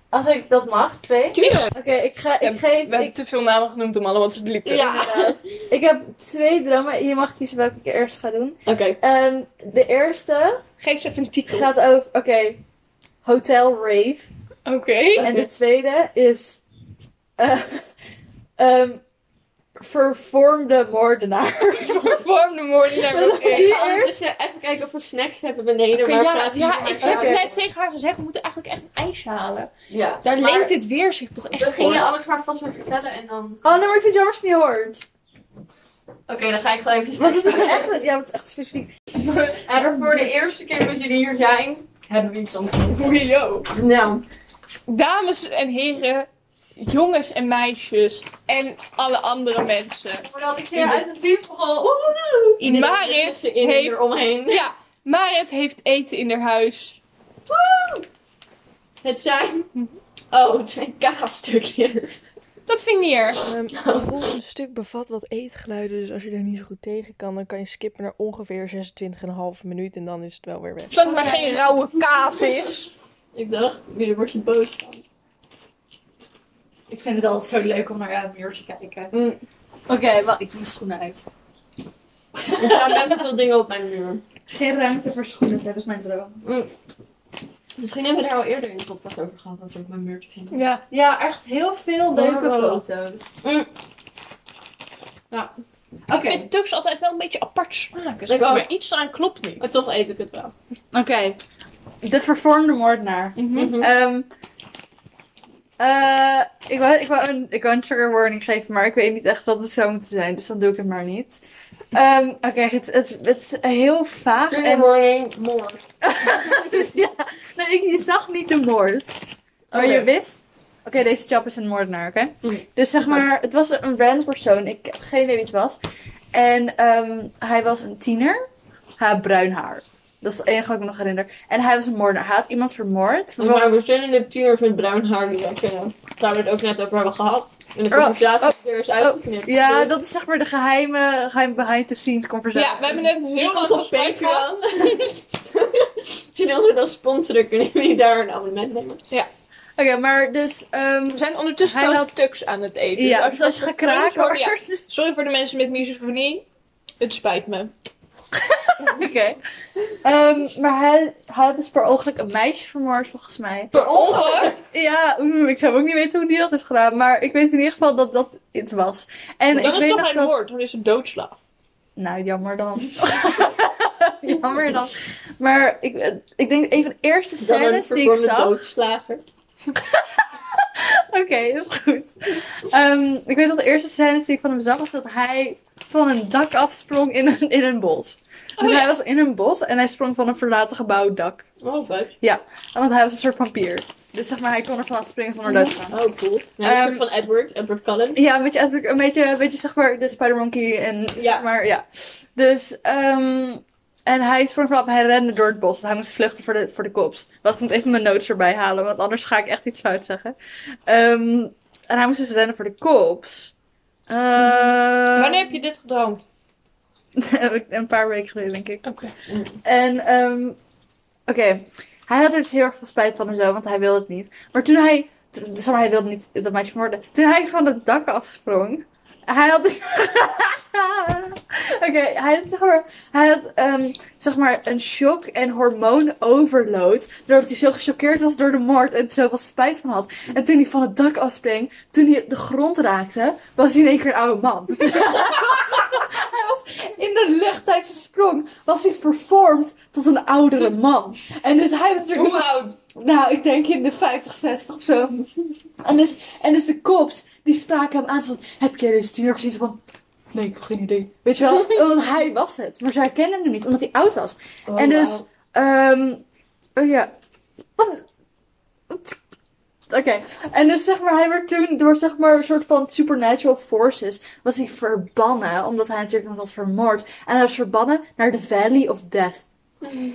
S5: Als ik dat mag, twee.
S2: Tuurlijk.
S5: Oké, ik, ga,
S2: Ja,
S5: ik geef...
S2: We hebben
S5: Ik,
S2: te veel namen genoemd om allemaal te bliepen.
S5: inderdaad. ik heb twee dromen. Je mag kiezen welke ik eerst ga doen.
S3: Oké.
S5: Ehm, de eerste
S2: Geef ze even een titel.
S5: gaat over... Oké. Hotel Rave.
S2: Oké.
S5: En de tweede is... eh, ehm, vervormde moordenaar.
S2: Vervormde moordenaar. Oké.
S5: Die
S3: Ik ga
S5: eerst?
S3: ondertussen even kijken of we snacks hebben beneden.
S2: Oké,
S3: maar
S2: ja,
S3: praat hier
S2: ja,
S3: maar
S2: ik
S3: verder.
S2: heb net tegen haar gezegd, we moeten eigenlijk echt een ijsje halen.
S3: Ja.
S2: Daar
S3: Maar
S2: leent dit weer zich toch echt
S3: We gingen
S2: voor.
S3: alles maar vast maar vertellen en dan...
S5: Oh, nee, maar ik vind Jommers niet hoort.
S3: Oké, dan ga ik gewoon even
S5: Want
S3: snacks
S5: het is
S3: maken.
S5: echt... Ja, het is echt specifiek.
S3: En voor de eerste keer dat jullie hier zijn, hebben we iets ontmoet.
S2: Yo.
S3: Nou,
S2: Dames en heren, jongens en meisjes en alle andere mensen.
S5: Voordat ik
S3: weer uit
S5: het teams begon.
S2: Maris
S3: in
S2: heeft-
S3: eromheen.
S2: Ja, Marit heeft eten in haar huis.
S3: Het zijn... Oh, het zijn kaasstukjes.
S2: Dat vind ik niet erg.
S4: Ehm, het volgende stuk bevat wat eetgeluiden, dus als je er niet zo goed tegen kan, dan kan je skippen naar ongeveer 26,5 minuut en dan is het wel weer weg.
S2: Zolang het maar geen rauwe kaas is.
S3: Ik dacht, jullie wordt je boos van.
S1: Ik vind het altijd zo leuk om naar jouw muur te kijken.
S3: Mm.
S1: Oké, wacht, ik doe mijn schoenen uit.
S3: Er staan best wel veel dingen op mijn muur.
S1: Geen ruimte voor schoenen, dat is mijn droom.
S3: Misschien hebben we daar al eerder in de podcast over gehad, wat er op mijn muur te vinden.
S2: Ja.
S1: Ja, echt heel veel leuke
S3: Oh.
S1: foto's.
S3: Mm.
S1: Ja. Oké,
S2: Ik vind Tux altijd wel een beetje apart smaken. Zeg
S3: Ik ook.
S2: maar iets eraan klopt niet.
S3: Maar toch eet ik het wel.
S1: oké. De vervormde moordenaar.
S2: Mhm.
S3: Mhm.
S1: Ehm, eh, ik, wou, ik, wou een, ik wou een trigger warning geven, maar ik weet niet echt wat het zou moeten zijn. Dus dan doe ik het maar niet. Ehm, Oké, het, het, het is heel vaag.
S3: Trigger
S1: En,
S3: warning, moord.
S1: ja, nee, ik, je zag niet de moord. Maar
S2: Oké.
S1: je wist... Oké, deze chap is een moordenaar, oké?
S3: Oké.
S1: Dus zeg maar, het was een random persoon. Ik heb geen idee wie het was. En ehm, hij was een tiener. Hij had bruin haar. Dat is het enige wat ik me nog herinner. En hij was een moordenaar. Hij had iemand vermoord.
S3: Maar we zijn in de tiener van bruin haar die we kunnen. Daar we het ook net over hebben gehad. En de
S1: Oh.
S3: conversatie
S1: Oh.
S3: is er is uitgeknipt.
S1: Ja,
S3: Dus-
S1: dat is zeg maar de geheime, geheime behind the scenes conversatie.
S2: Ja, we hebben een
S3: Die
S2: heel
S3: komt
S2: goed
S3: op
S2: gesprek gehad.
S3: Patreon. Misschien als we dat sponsoren, kunnen jullie daar een abonnement nemen.
S1: Oké, maar dus... ehm,
S2: We zijn ondertussen
S1: Hij
S2: trouwens Tux aan het eten.
S1: ja,
S2: Dus
S1: dus als je
S2: dat
S1: gekraakt
S2: hoort,
S1: wordt...
S2: ja. Sorry voor de mensen met misofonie. Het spijt me.
S1: Oké. Ehm, maar hij, hij had dus per ongeluk een meisje vermoord, volgens mij.
S2: Per ongeluk.
S1: Ja, oeh, ik zou ook niet weten hoe die dat is gedaan. Maar ik weet in ieder geval dat dat het was. En
S2: Dan
S1: ik
S2: is
S1: weet
S2: het toch
S1: nog
S2: geen
S1: dat...
S2: moord. Dan is het doodslag.
S1: Nou, jammer dan. jammer dan. Maar ik, ik denk een van de eerste
S3: Dan een
S1: scènes die ik
S3: vervormde
S1: zag...
S3: doodslager.
S1: Oké, is goed. Ehm, ik weet dat de eerste scène die ik van hem zag was dat hij van een dak afsprong in een, in een bos. Dus hij was in een bos en hij sprong van een verlaten gebouwd dak.
S3: Oh, fuck.
S1: En Want hij was een soort vampier. Dus zeg maar, hij kon er vanaf springen zonder dood te gaan.
S3: Oh, cool. Nou, een
S1: Ehm,
S3: soort van Edward, Edward Cullen.
S1: Ja, een beetje, eigenlijk een beetje, een beetje zeg maar de Spider-Monkey en zeg maar, ja. Dus, ehm, en hij sprong vanaf, hij rende door het bos. want Hij moest vluchten voor de, voor de cops. Wacht, ik moet even mijn notes erbij halen, want anders ga ik echt iets fout zeggen. Ehm, en hij moest dus rennen voor de cops. Eh,
S6: Wanneer heb je dit gedroomd?
S1: een paar weken geleden, denk ik.
S6: Oké.
S1: En, ehm, oké. Hij had er dus heel erg veel spijt van en zo, want hij wilde het niet. Maar toen hij, t- zeg maar, hij wilde niet dat meisje vermoorden. Toen hij van het dak afsprong, hij had dus... Oké, hij had, zeg maar, hij had ehm, zeg maar een shock en hormoonoverload. Doordat hij zo gechoqueerd was door de moord en er zoveel spijt van had. En toen hij van het dak afsprong, toen hij de grond raakte, was hij in één keer een oude man. hij was in de lucht tijdens zijn sprong was hij vervormd tot een oudere man. En dus hij was natuurlijk...
S6: Hoe oud?
S1: Nou, ik denk in de 50, 60 of zo. En dus, en dus de cops, die spraken hem aan. Zo van, heb jij deze tiener gezien? Zo van, nee, ik heb geen idee. Weet je wel? Want hij was het. Maar zij kenden hem niet, omdat hij oud was. en dus, ehm oh ja. Wat? Wat? Oké. En dus zeg maar, hij werd toen door zeg maar een soort van supernatural forces, was hij verbannen, omdat hij natuurlijk iemand had vermoord. En hij was verbannen naar de Valley of Death.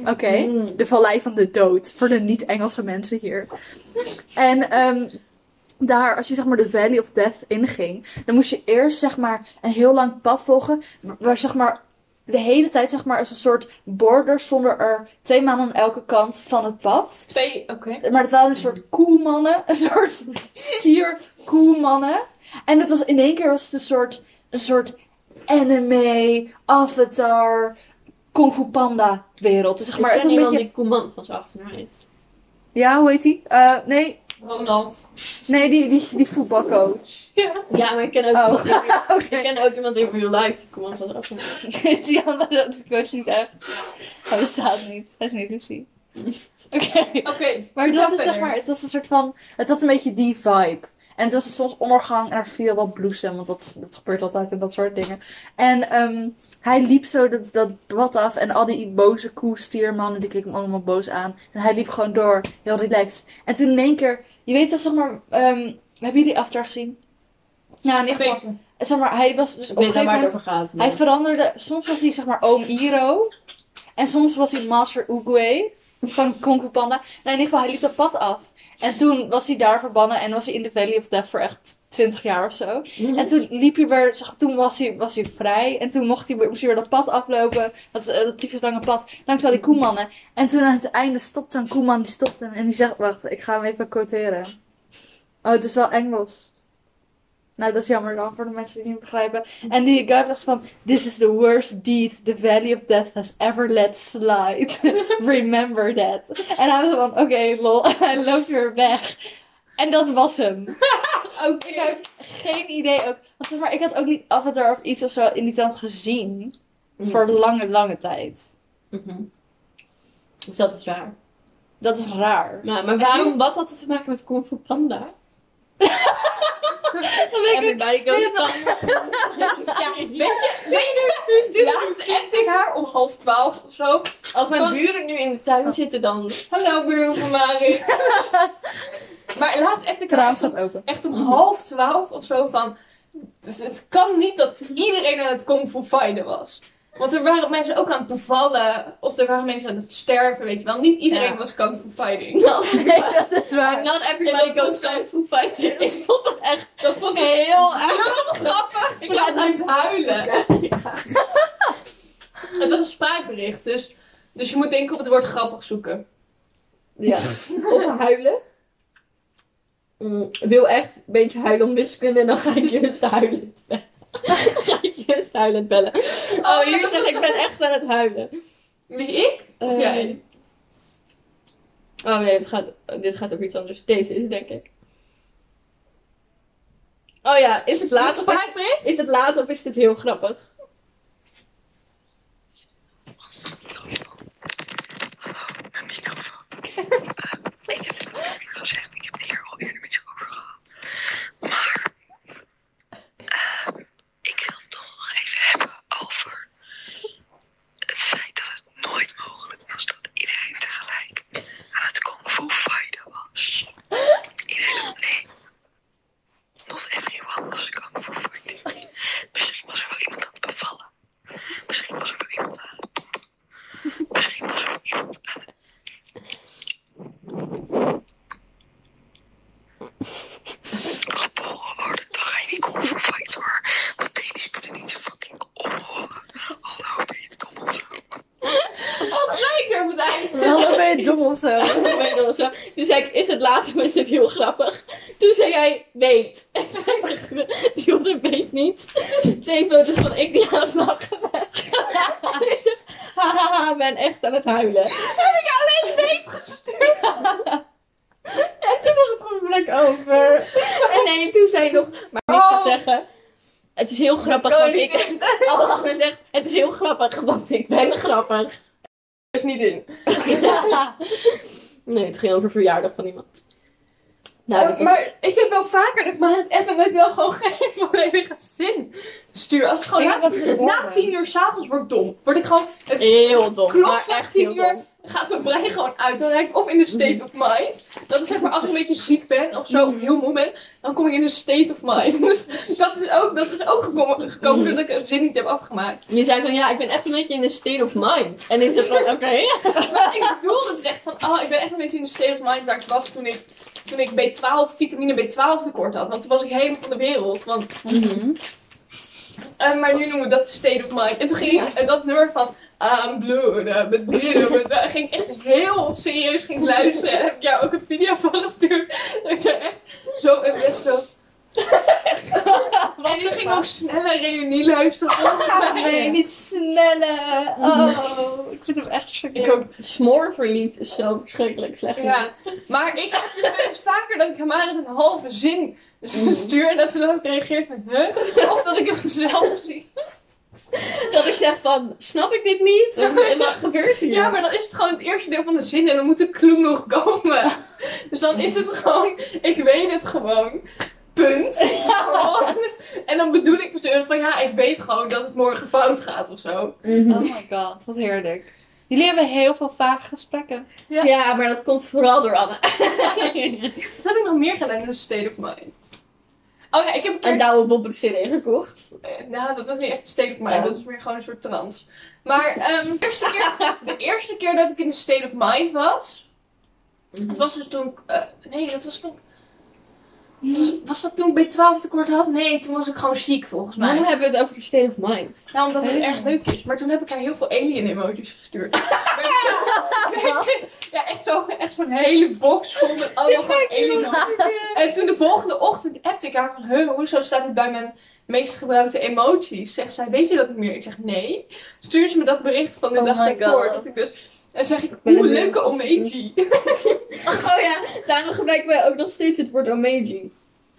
S1: Oké. De vallei van de dood. Voor de niet-Engelse mensen hier. En ehm, daar, als je zeg maar de Valley of Death inging, dan moest je eerst zeg maar een heel lang pad volgen. wa- Waar zeg maar de hele tijd zeg maar als een soort border zonder er twee mannen aan elke kant van het pad.
S6: Twee, oké.
S1: Maar het waren een soort koemannen. Een soort stier-koemannen. En het was in één keer was het een soort, een soort anime, avatar, kung fu panda wereld. Dus zeg maar,
S3: Maar ik
S1: het
S3: ken
S1: was een
S3: iemand
S1: beetje...
S3: die Koeman van zijn achternaam
S1: Ja, hoe heet die? Eh, nee,
S6: Ronald.
S1: nee die, die, die voetbalcoach.
S3: Ja, maar ik ken ook,
S1: Oh.
S3: iemand, in-
S1: Oké.
S3: ik ken ook iemand in real life die Koeman van zijn achternaam heeft.
S1: Is die andere dat de coach niet echt? Hij bestaat niet. Hij is een illusie. Oké.
S6: Oké,
S1: Maar het was,
S6: vertel
S1: dus, zeg
S6: verder.
S1: maar, het was een soort van... Het had een beetje die vibe. En het was soms ondergang en er viel wat bloesem. Want dat, dat gebeurt altijd en dat soort dingen. En ehm, hij liep zo dat, dat wat af. En al die boze koe-stiermannen, die keken hem allemaal boos aan. En hij liep gewoon door. Heel relaxed. En toen in één keer... Je weet toch, zeg maar... ehm, hebben jullie After gezien? Nou, in ieder geval...
S6: Peter.
S1: Zeg maar, hij was dus
S3: Ik
S1: op een
S3: weet
S1: gegeven
S3: niet waar het
S1: moment...
S3: over gaat. maar-
S1: Hij veranderde, soms was hij zeg maar oom Iro. En soms was hij Master Oogway van Kung Fu Panda. Nou, in ieder geval, hij liep dat pad af. En toen was hij daar verbannen en was hij in de Valley of Death voor echt 20 jaar of zo. En toen liep hij weer, zeg, toen was hij, was hij vrij. En toen mocht hij, weer- moest hij weer dat pad aflopen. Dat, is, eh, dat tyfuslange pad. Langs al die koemannen. En toen aan het einde stopt zo'n koeman, die stopt hem. En die zegt, wacht, ik ga hem even quoteren. Oh, het is wel Engels. Nou, dat is jammer dan voor de mensen die het niet begrijpen. En die guy zegt van, this is the worst deed the Valley of Death has ever let slide. Remember that. En hij was van, oké, lol. En hij loopt weer weg. En dat was hem.
S6: Oké.
S1: Ik heb geen idee ook. Want zeg maar, ik had ook niet Avatar of iets of zo in die tijd gezien.
S3: Mhm.
S6: Mm.
S1: Voor lange, lange tijd.
S3: Mhm. Dus dat is waar.
S1: Dat is raar.
S3: Maar, maar waarom, wat had het te maken met Kung Fu Panda? Everybody goes panda.
S6: Ja, weet je, weet je, laatst appte ik haar om half twaalf of zo.
S3: Als mijn
S6: Van-
S3: buren nu in de tuin zitten, dan...
S6: Hallo buren van Maris. maar laatst appte ik
S1: Het raam
S6: haar echt
S1: staat open.
S6: echt om half twaalf of zo van... Het, het kan niet dat iedereen aan het kung fu fighten was. Want er waren mensen ook aan het bevallen. Of er waren mensen aan het sterven, weet je wel. Niet iedereen
S3: Ja.
S6: was kung fu fighting.
S3: Not
S1: Nee, dat is waar.
S3: not
S6: En
S3: everybody
S6: dat
S3: goes
S6: was zo-
S3: Kung Fu Fighting. Ik vond dat echt
S6: Dat vond ik
S3: heel
S6: zo grappig. Ik was aan het huilen. Het was een spraakbericht, dus... Dus je moet denk ik op het woord grappig zoeken.
S3: Ja. Of huilen. Mm, ik wil echt een beetje huilen om wiskunde en dan ga ik juist huilen bellen. ga ik juist huilen bellen. Oh, hier zeg ik ben echt aan het huilen.
S6: Wie ik? Of
S3: Eh,
S6: jij?
S3: Oh nee, het gaat, dit gaat over iets anders. Deze is het, denk ik. Oh ja, is het laat of is,
S6: spraakbericht?
S3: is het laat of is dit heel grappig?
S7: Hallo, mijn microfoon. Eh, ik heb het al eerder gezegd, ik heb het hier al eerder met je over gehad.
S1: je dom of zo?
S3: Ik weet nog zo. Toen zei ik, is het later of is dit heel grappig? Toen zei jij, weet. Jonne weet niet. Twee foto's van ik die aan het lachen ben. Toen is het, hahaha, ben echt aan het huilen. Heb ik alleen weet gestuurd. en toen was het gesprek over. En nee, toen zei je nog, maar ik
S2: Oh,
S3: ga zeggen... Het is heel grappig, want ik... Oh, men zegt, het is heel grappig, want ik ben grappig.
S2: Dus niet in.
S3: Nee, het ging over verjaardag van iemand.
S2: Eh,
S3: Nou, dat is-
S2: maar ik heb wel vaker dat ik maar het app en dat ik wel gewoon geen volledige zin stuur. Als het gewoon na, na tien uur s'avonds word ik dom. Word ik gewoon, het
S3: heel dom.
S2: Klopt,
S3: maar
S2: na
S3: echt
S2: tien
S3: heel
S2: uur.
S3: dom.
S2: gaat mijn brein gewoon uit. Dan raak ik of in de state of mind. Dat is zeg maar als ik een beetje ziek ben of zo, of heel moe ben, dan kom ik in de state of mind. Dus dat is ook, dat is ook gekomen, gekomen doordat ik een zin niet heb afgemaakt.
S3: Je zei van ja, ik ben echt een beetje in de state of mind. En ik zei van oké.
S2: Maar ik bedoel het echt van, oh, ik ben echt een beetje in de state of mind waar ik was toen ik, toen ik B12, vitamine B12 tekort had. Want toen was ik helemaal van de wereld. Want
S3: Mhm.
S2: Eh, maar nu noemen we dat de state of mind. En toen ging ik eh, dat nummer van I'm blue, da, ba, di, da, ba, da, ging ik echt heel serieus ging luisteren. En heb ik jou ook een video van gestuurd. Dat ik daar echt zo en best zo... en ik ging ook sneller reunie luisteren.
S1: Nee, niet snelle.
S3: Mhm.
S1: Oh, ik vind hem echt
S2: Ik ook,
S1: schrikkelijk.
S3: Smoorverliefd is zo verschrikkelijk slecht.
S2: ja. Maar ik heb dus wel eens vaker dat ik hem maar een halve zin stuur. En dat ze dan ook reageert met huh? Of dat ik het zelf zie.
S3: Dat ik zeg van snap ik dit niet? Wat, wat gebeurt hier?
S2: Ja, maar dan is het gewoon het eerste deel van de zin en dan moet de clue nog komen. Dus dan is het gewoon, ik weet het gewoon. Punt. Gewoon. En dan bedoel ik natuurlijk van ja, ik weet gewoon dat het morgen fout gaat of zo.
S1: Oh my god, wat heerlijk. Jullie hebben heel veel vage gesprekken.
S3: Ja. Ja, maar dat komt vooral door Anne.
S2: Wat heb ik nog meer gedaan in een state of mind? Oh ja, ik heb een keer...
S3: Een douwe bob CD gekocht.
S2: eh, Nou, dat was niet echt een state of mind,
S3: Ja.
S2: dat is meer gewoon een soort trance. Maar ehm, de, eerste keer, de eerste keer dat ik in een state of mind was, het was dus toen ik... eh, nee, dat was toen ik- Was, was dat toen ik B12 tekort had? Nee, toen was ik gewoon ziek volgens mij.
S3: Waarom hebben we het over de state of mind?
S2: Nou, omdat het erg leuk is. Maar toen heb ik haar heel veel alien emojis gestuurd. ja, echt zo'n echt zo'n hele box vol met allemaal van alien emojis. En toen de volgende ochtend appte ik haar van... Huh, hoezo staat dit bij mijn meest gebruikte emoties? Zegt zij, weet je dat niet meer? Ik zeg, nee. Stuur ze me dat bericht van de
S1: Oh
S2: dag
S1: my
S2: daarvoor.
S1: God.
S2: Dat ik dus... En zeg ik,
S3: ben
S2: oeh,
S3: er
S2: leuke emoji.
S3: Oh ja, daarom gebruiken wij ook nog steeds het woord omeji.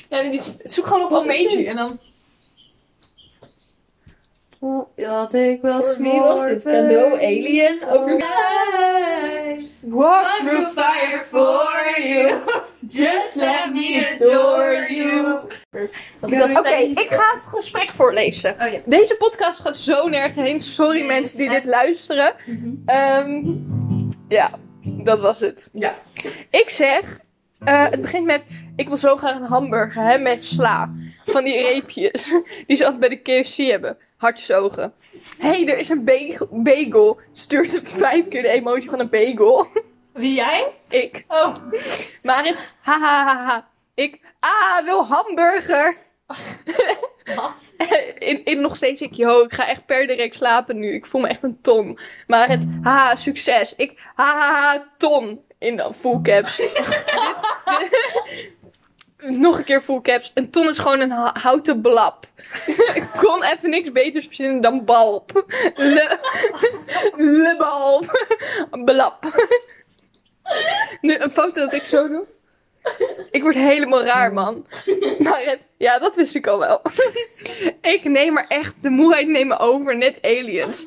S2: Ja, die- zoek gewoon op
S3: Wat is
S2: emoji.
S3: dit?
S2: En dan...
S1: Dat ik wel
S3: Voor wie was dit cadeau? Alien? Over
S1: Walk
S2: through fire for
S1: you. Just
S2: let me adore you. Oké, ik ga het gesprek voorlezen. Deze podcast gaat zo nergens heen. Sorry mensen die dit luisteren. Ehm, ja, dat was het.
S3: Ja.
S2: Ik zeg, eh, het begint met, ik wil zo graag een hamburger hè, met sla. Van die reepjes die ze altijd bij de KFC hebben. Hartjesogen. Hé, hey, er is een bagel. bagel. Stuurt vijf keer de emotie van een bagel.
S1: Wie jij?
S2: Ik. Oh. Marit, ha ha ha ha. Ik, ah, wil hamburger. In, in nog steeds ik, yo, ik ga echt per direct slapen nu. Ik voel me echt een ton. Marit, ha, succes. Ik, ha ha ha, ton. In dan full caps. nog een keer full caps. Een ton is gewoon een ha- houten blap. ik kon even niks beters verzinnen dan balp. Le, le balp. Blap. Nu, een foto dat ik zo doe. Ik word helemaal raar, man. Maar het, ja, dat wist ik al wel. Ik neem maar echt, de moeheid neemt me over, net aliens.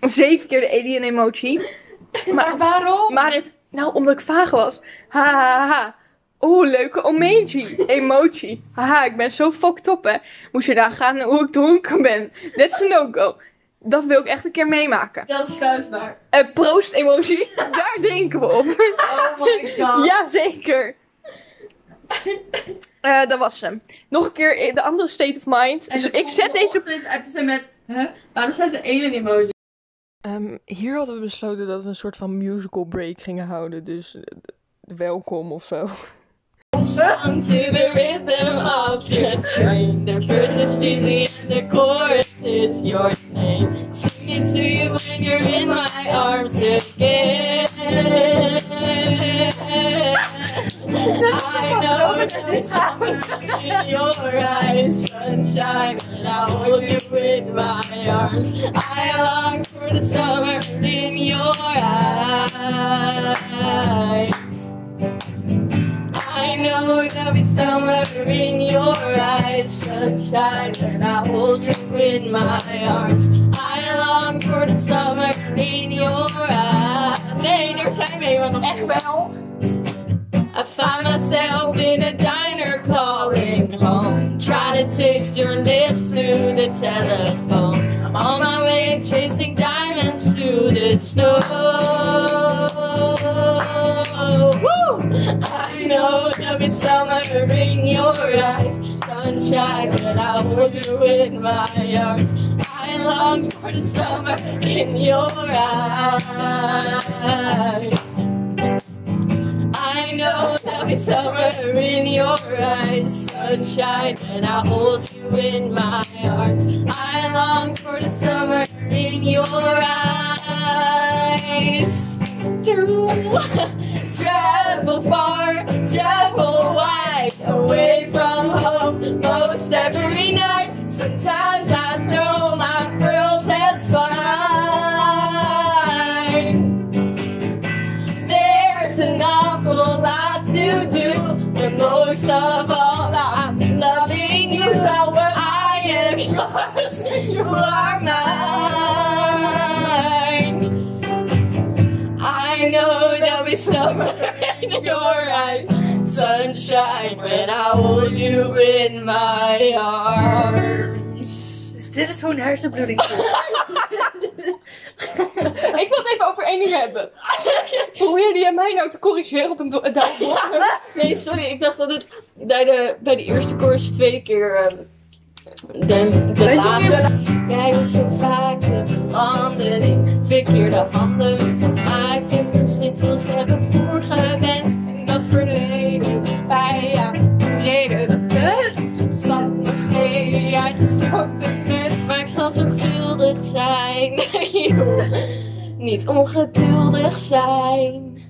S2: Zeven keer de alien emoji. Maar
S6: Oh.
S2: waarom? Maar het, nou, omdat ik vaag was. Ha, ha, ha. Oeh, leuke omeji. Emoji. Haha, ik ben zo fucked up, hè. Moest je daar gaan hoe ik dronken ben. That's a no-go. Dat wil ik echt een keer meemaken.
S3: Dat is trouwens waar.
S2: Een proost-emoji, daar drinken we op.
S1: Oh my god.
S2: Jazeker. Eh dat was hem. Nog een keer in de andere state of mind. Dus ik zet deze.
S3: uit zijn met, huh? waarom staat de alien emoji?
S6: Ehm, hier hadden we besloten dat we een soort van musical break gingen houden. Dus eh, d- welkom of zo.
S3: Song to the rhythm of the train. The first is cheesy and the chorus is your name. Sing it to you when you're in my arms again. arms. I long for the summer in your eyes. I know there'll be summer in your eyes, sunshine, and I hold you in my arms. I long for the summer in your eyes. Nee, daar zijn we helemaal nog. Echt wel. I find myself in a diner calling home. Try to taste your lips through the telephone. I'm on my way chasing diamonds through the snow. Woo! I know there'll be summer in your eyes, sunshine, but I hold you in my arms. I long for the summer in your eyes. I know there'll be summer in your eyes, sunshine, and I hold you in my arms. I long for the summer in your eyes. Do travel far, travel wide, away from home most every night. Sometimes I throw my girls, that's fine. There's an awful lot to do, but most of all, I'm loving you. How I am yours, you are mine. I know there'll be summer in your eyes, sunshine when I hold you in my arms.
S8: Dus dit is hoe een hersenbloeding voelt.
S2: Ik wil het even over één ding hebben. Probeerde je mij nou te corrigeren op een do- duimbom?
S9: Nee, sorry, ik dacht dat het bij de, bij de eerste koers tweede keer. ehm, de, de laatste.
S3: Jij was zo vaak de belandeling. Verkeerde handen gemaakt. En verslitsels hebben voorgewend. En dat vernederde bij jou. De Reden dat we omstandigheden jij gestorven bent. Maar ik zal zorgvuldig zijn. Joh, Niet ongeduldig zijn.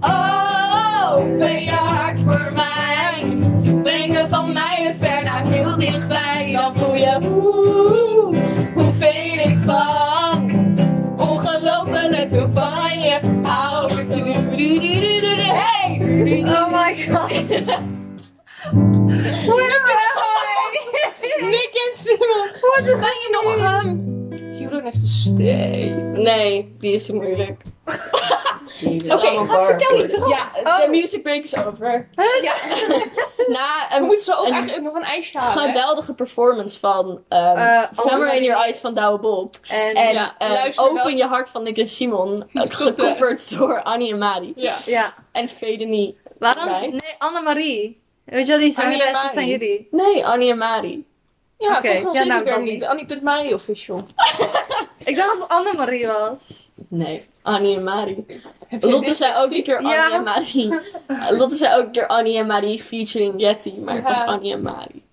S3: Oh, ben je hart voor mij? Brengen van mij ver naar heel dichtbij. Dan voel je hoe, hoeveel ik van. Ongelooflijk veel van je hou. Du-du-du-du-du-du. Hey!
S8: Oh my god.
S2: Nick en Simon. Wat is je nog aan? You don't have to stay.
S9: Nee, die is te moeilijk.
S2: Oké, ga vertel je toch?
S9: Ja,
S3: Oh.
S9: de music break is over.
S2: Ja.
S9: Na ehm,
S2: We
S9: een
S2: moeten ze ook
S9: En-
S2: eigenlijk nog een ijsje halen. hè? oh,
S9: geweldige performance van ehm,
S8: Eh,
S9: Summer
S8: Anne-
S9: in Your Eyes van Douwe Bob.
S8: En,
S9: En
S2: ja,
S9: eh,
S2: luister
S9: Open
S2: dat.
S9: Je Hart van Nick en Simon.
S2: Goed, hè?
S9: Gecoverd door Annie en Mari.
S2: Ja.
S8: ja.
S9: En Fede niet.
S1: Waarom?
S9: Wij?
S1: Nee, Annemarie. Weet je wel, die
S2: Annie en
S1: zangeres, dat
S2: Mari.
S1: zijn jullie.
S9: Nee, Annie en Mari.
S2: Ja,
S1: Oké, ja,
S2: volgens mij
S1: nou,
S2: ik er
S1: dan
S2: niet.
S1: niet.
S2: Annie.Marie official.
S1: Ik dacht dat het Annemarie was.
S9: Nee, Annie en Mari. Lotte zei ook een keer Annie
S1: Ja.
S9: en Mari. Lotte zei ook een keer Annie en Mari featuring Yeti. Maar het was
S2: Ja.
S9: Annie en Mari.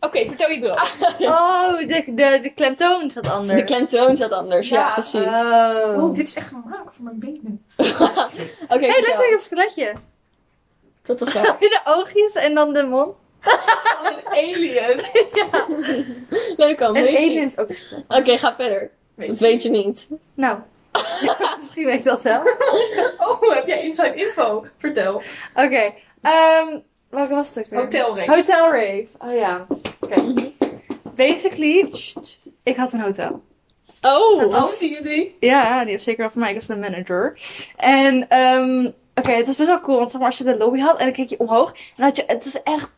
S2: Oké, vertel je
S3: Ah.
S2: erop.
S1: Oh, de, de, de klemtoon zat anders.
S9: De klemtoon zat anders, ja,
S2: Ja,
S9: precies.
S1: Oh.
S10: Oh, dit is echt gemaakt voor mijn benen.
S9: Oké,
S1: Hé, hey,
S9: vertel.
S1: lijkt wel op het skeletje.
S9: dat was wel.
S1: Heb je de oogjes en dan de mond?
S2: Een alien.
S9: Leuk al,
S1: En
S9: weet je.
S1: Alien is ook een skelet.
S9: Oké, ga verder. dat weet je niet.
S1: Nou, misschien weet ik dat wel. Oké,
S10: Oh, heb jij inside info? Vertel.
S1: ehm, welke was het ook weer?
S10: Hotelreeks.
S1: Hotel Rave. Oh ja. Oké. Basically, ik had een hotel.
S9: Oh!
S1: Dat was-
S10: Houden jullie?
S1: Ja, die was zeker wel van mij. Ik was de manager. En ehm, oké, het was best wel cool. Want zeg maar, als je de lobby had en dan keek je omhoog. Dan had je, het was echt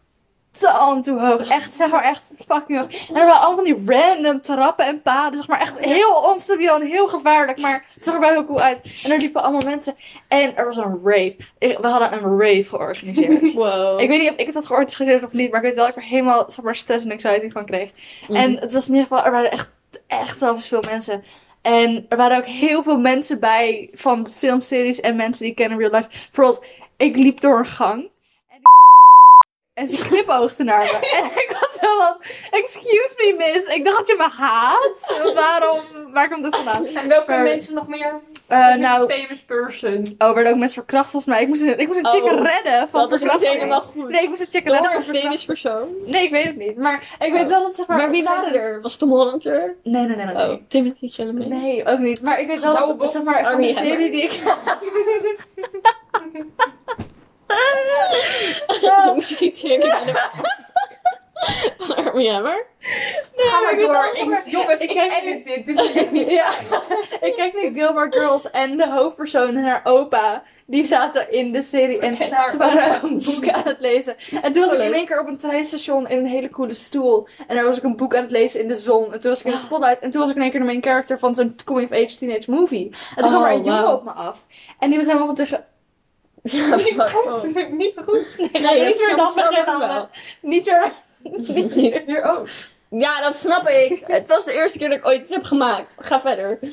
S1: tand toe hoog. Echt, zeg maar, echt fucking hoog. En er waren allemaal van die random trappen en paden. Zeg maar, echt heel onstabiel en heel gevaarlijk. Maar het zag er wel heel cool uit. En er liepen allemaal mensen. En er was een rave. Ik- we hadden een rave georganiseerd.
S9: Wow.
S1: Ik weet niet of ik het had georganiseerd of niet, maar ik weet wel dat ik er helemaal zeg maar, stress en anxiety van kreeg. En het was in ieder geval, er waren echt, echt telkens veel mensen. En er waren ook heel veel mensen bij van filmseries en mensen die ik ken in real life. Bijvoorbeeld, ik liep door een gang. en- En ze knipoogde naar me. En ik was zo van, excuse me miss, ik dacht dat je me haat. Waarom, waar komt dit vandaan?
S2: En welke
S1: Maar-
S2: mensen nog meer?
S1: Eh,
S7: Met
S1: nou,
S7: een famous person.
S1: oh, werden ook mensen verkracht volgens mij. Ik moest een, ik moest een chick
S3: Oh,
S1: redden van
S3: Dat is niet
S1: verkrachting.
S3: helemaal goed.
S1: Nee, ik moest een chick redden
S3: Door
S1: van
S3: een
S1: verkrachting.
S3: famous persoon.
S1: Nee, ik weet het niet. Maar ik weet wel dat zeg maar...
S3: Maar wie waren er? Was Tom Holland er?
S1: Nee, nee, nee, nee. nee.
S3: Oh, Timothy Chalamet.
S1: Nee, ook niet. Maar ik weet wel dat, zeg maar, van
S3: Armie
S1: die serie
S3: Hammer.
S1: die ik... Ah.
S3: Dan moest je iets zeggen. Armie Hammer.
S2: Ga maar
S1: weet
S2: door.
S1: wel, zeg maar,
S2: Ik- jongens,
S1: ik
S2: ik,
S1: kijk-
S2: edit dit. Dit is echt niet
S1: Ja, ik kijk nu Gilmore Girls en de hoofdpersoon en haar opa, die zaten in de serie en ze waren een boek aan het lezen. En toen was ik in één keer op een treinstation in een hele coole stoel en daar was ik een boek aan het lezen in de zon. En toen was ik in de spotlight en toen was ik in één keer de main character van zo'n coming of age teenage movie. En toen kwam er een jongen op me af en die was helemaal van tegen...
S2: niet goed.
S3: Nee,
S1: niet weer dan
S3: snap ik
S1: beginnen.
S3: wel.
S1: Niet weer...
S2: Hier ook.
S3: Ja, dat snap ik. Het was de eerste keer dat ik ooit iets heb gemaakt. Ga verder.
S2: Ik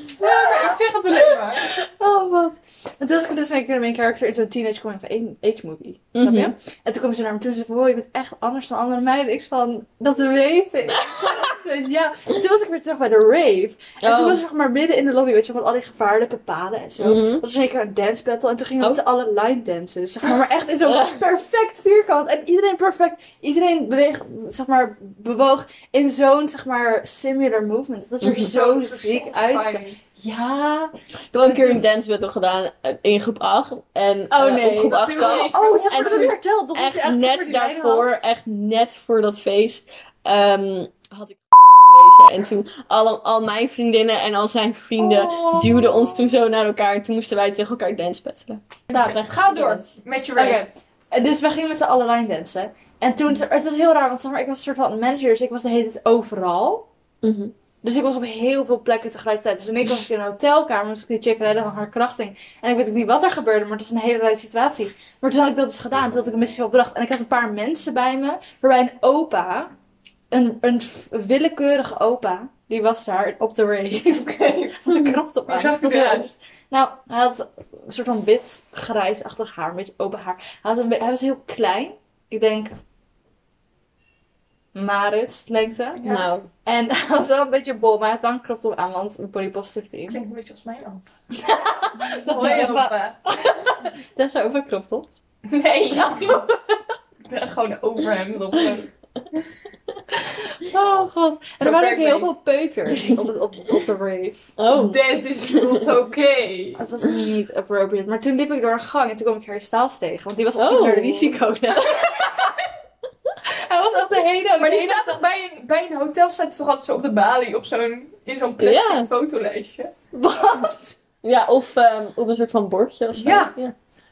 S2: zeg het alleen maar.
S1: Oh, wat. En toen was ik dus in één keer de main character in zo'n teenage coming of age movie. Snap je?
S3: Mhm.
S1: En toen kwam ze naar me toe en zei van, wow, je bent echt anders dan andere meiden. Ik zei van, dat weet ik. dus ja, En toen was ik weer terug bij de rave. En toen
S3: Oh.
S1: was ik zeg maar midden in de lobby, weet je, met al die gevaarlijke paden en zo.
S3: Mhm.
S1: Was er zeker een dance battle en toen gingen we
S3: Oh.
S1: met z'n allen line dansen. Dus zeg maar, maar echt in zo'n
S3: Ah.
S1: perfect vierkant. En iedereen perfect, iedereen beweeg, zeg maar, bewoog in zo'n, zeg maar, similar movement. Dat
S3: Mhm.
S1: er zo ziek uit. Ja.
S3: Ik heb wel een keer een dance battle gedaan eh, in groep 8. En eh,
S1: nee.
S3: op groep
S1: Dat
S3: 8
S1: Oh,
S3: kwam
S1: oh ze hebben
S3: en
S1: het weer
S3: toen
S1: verteld. Dat
S3: echt,
S1: je echt super
S3: net
S1: die lijnen
S3: daarvoor,
S1: had.
S3: echt net voor dat feest, ehm, had ik gewezen. En toen al, al mijn vriendinnen en al zijn
S1: eh,
S3: vrienden
S1: Oh.
S3: duwden ons toen zo naar elkaar. En toen moesten wij tegen elkaar dance battelen. Ja, echt
S2: Ga door
S3: gedaan.
S2: met je
S1: Oké.
S2: rave.
S1: En Dus we gingen met z'n allen line dansen. En toen, het was heel raar, want zeg maar, ik was een soort van manager, dus ik was de hele tijd overal.
S3: Mhm.
S1: Dus ik was op heel veel plekken tegelijkertijd. Dus in één keer was ik in een hotelkamer, moest ik die chick redden van haar krachting. En ik weet ook niet wat er gebeurde, maar het was een hele rare situatie. Maar toen had ik dat eens gedaan, toen had ik een missie opdracht. En ik had een paar mensen bij me, waarbij een opa, een, een willekeurige opa, die was daar op de rave. Had een krop op aan. dus
S2: Hoe zag
S1: dat
S2: hij
S1: was
S2: eruit?
S1: anders. Nou, hij had een soort van wit, grijsachtig haar, een beetje open haar. Hij, had een, be- hij was heel klein. Ik denk... Marit lengte.
S3: Nou,
S1: En hij was wel een beetje bol, maar hij had wel een crop top aan, want een body positive
S2: Ik
S1: team.
S2: denk een beetje als mijn opa.
S1: Dat
S2: Hoi,
S1: is wel-
S2: opa.
S1: Dat is over crop tops.
S2: Nee. Ik ben gewoon over hem. op hem.
S1: Oh god. En
S2: Zo
S1: er waren ook
S2: ver ik
S1: heel
S2: weet.
S1: veel peuters op, het- op, op de rave.
S3: oh.
S2: That is not okay.
S1: Het was niet appropriate. Maar toen liep ik door een gang en toen kwam ik Harry Styles tegen, want die was op zoek
S3: Oh.
S1: naar de wifi-code. hij was echt de hele...
S2: Maar die
S1: hele-
S2: staat toch bij een, bij een hotel, staat hij toch altijd zo op de balie op zo'n, in zo'n plastic
S3: Ja.
S2: fotolijstje.
S3: Ja, of ehm, op een soort van bordje of zo.
S1: Ja.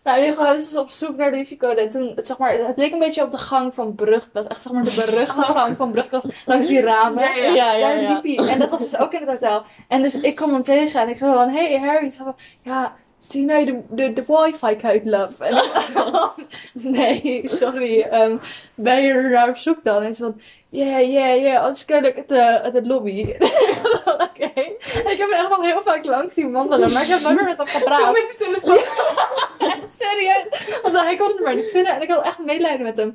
S1: Nou, in ieder geval, hij was dus op zoek naar de wifi-code. En toen, het, zeg maar, het leek een beetje op de gang van Brugklas. Echt zeg maar de beruchte gang van Brugklas. Langs die ramen.
S2: Oh. Ja, ja.
S3: ja, ja.
S1: daar
S3: ja.
S1: liep hij. En dat was dus ook in het hotel. En dus ik kwam hem tegen en ik zei van, hey Harry. Ik zei van, ja, do you know the, the, the wifi code, love? En ik- nee, sorry. ehm, ben je er naar op zoek dan? En ze van, yeah, yeah, yeah. Anders kan ik het, eh, het, het lobby. En ik dacht, Oké. En ik heb hem echt nog heel vaak langs zien wandelen. Maar ik heb nooit meer met hem gepraat.
S2: Met die telefoon.
S1: Echt serieus. Want hij kon het maar niet vinden. En ik had echt medelijden met hem.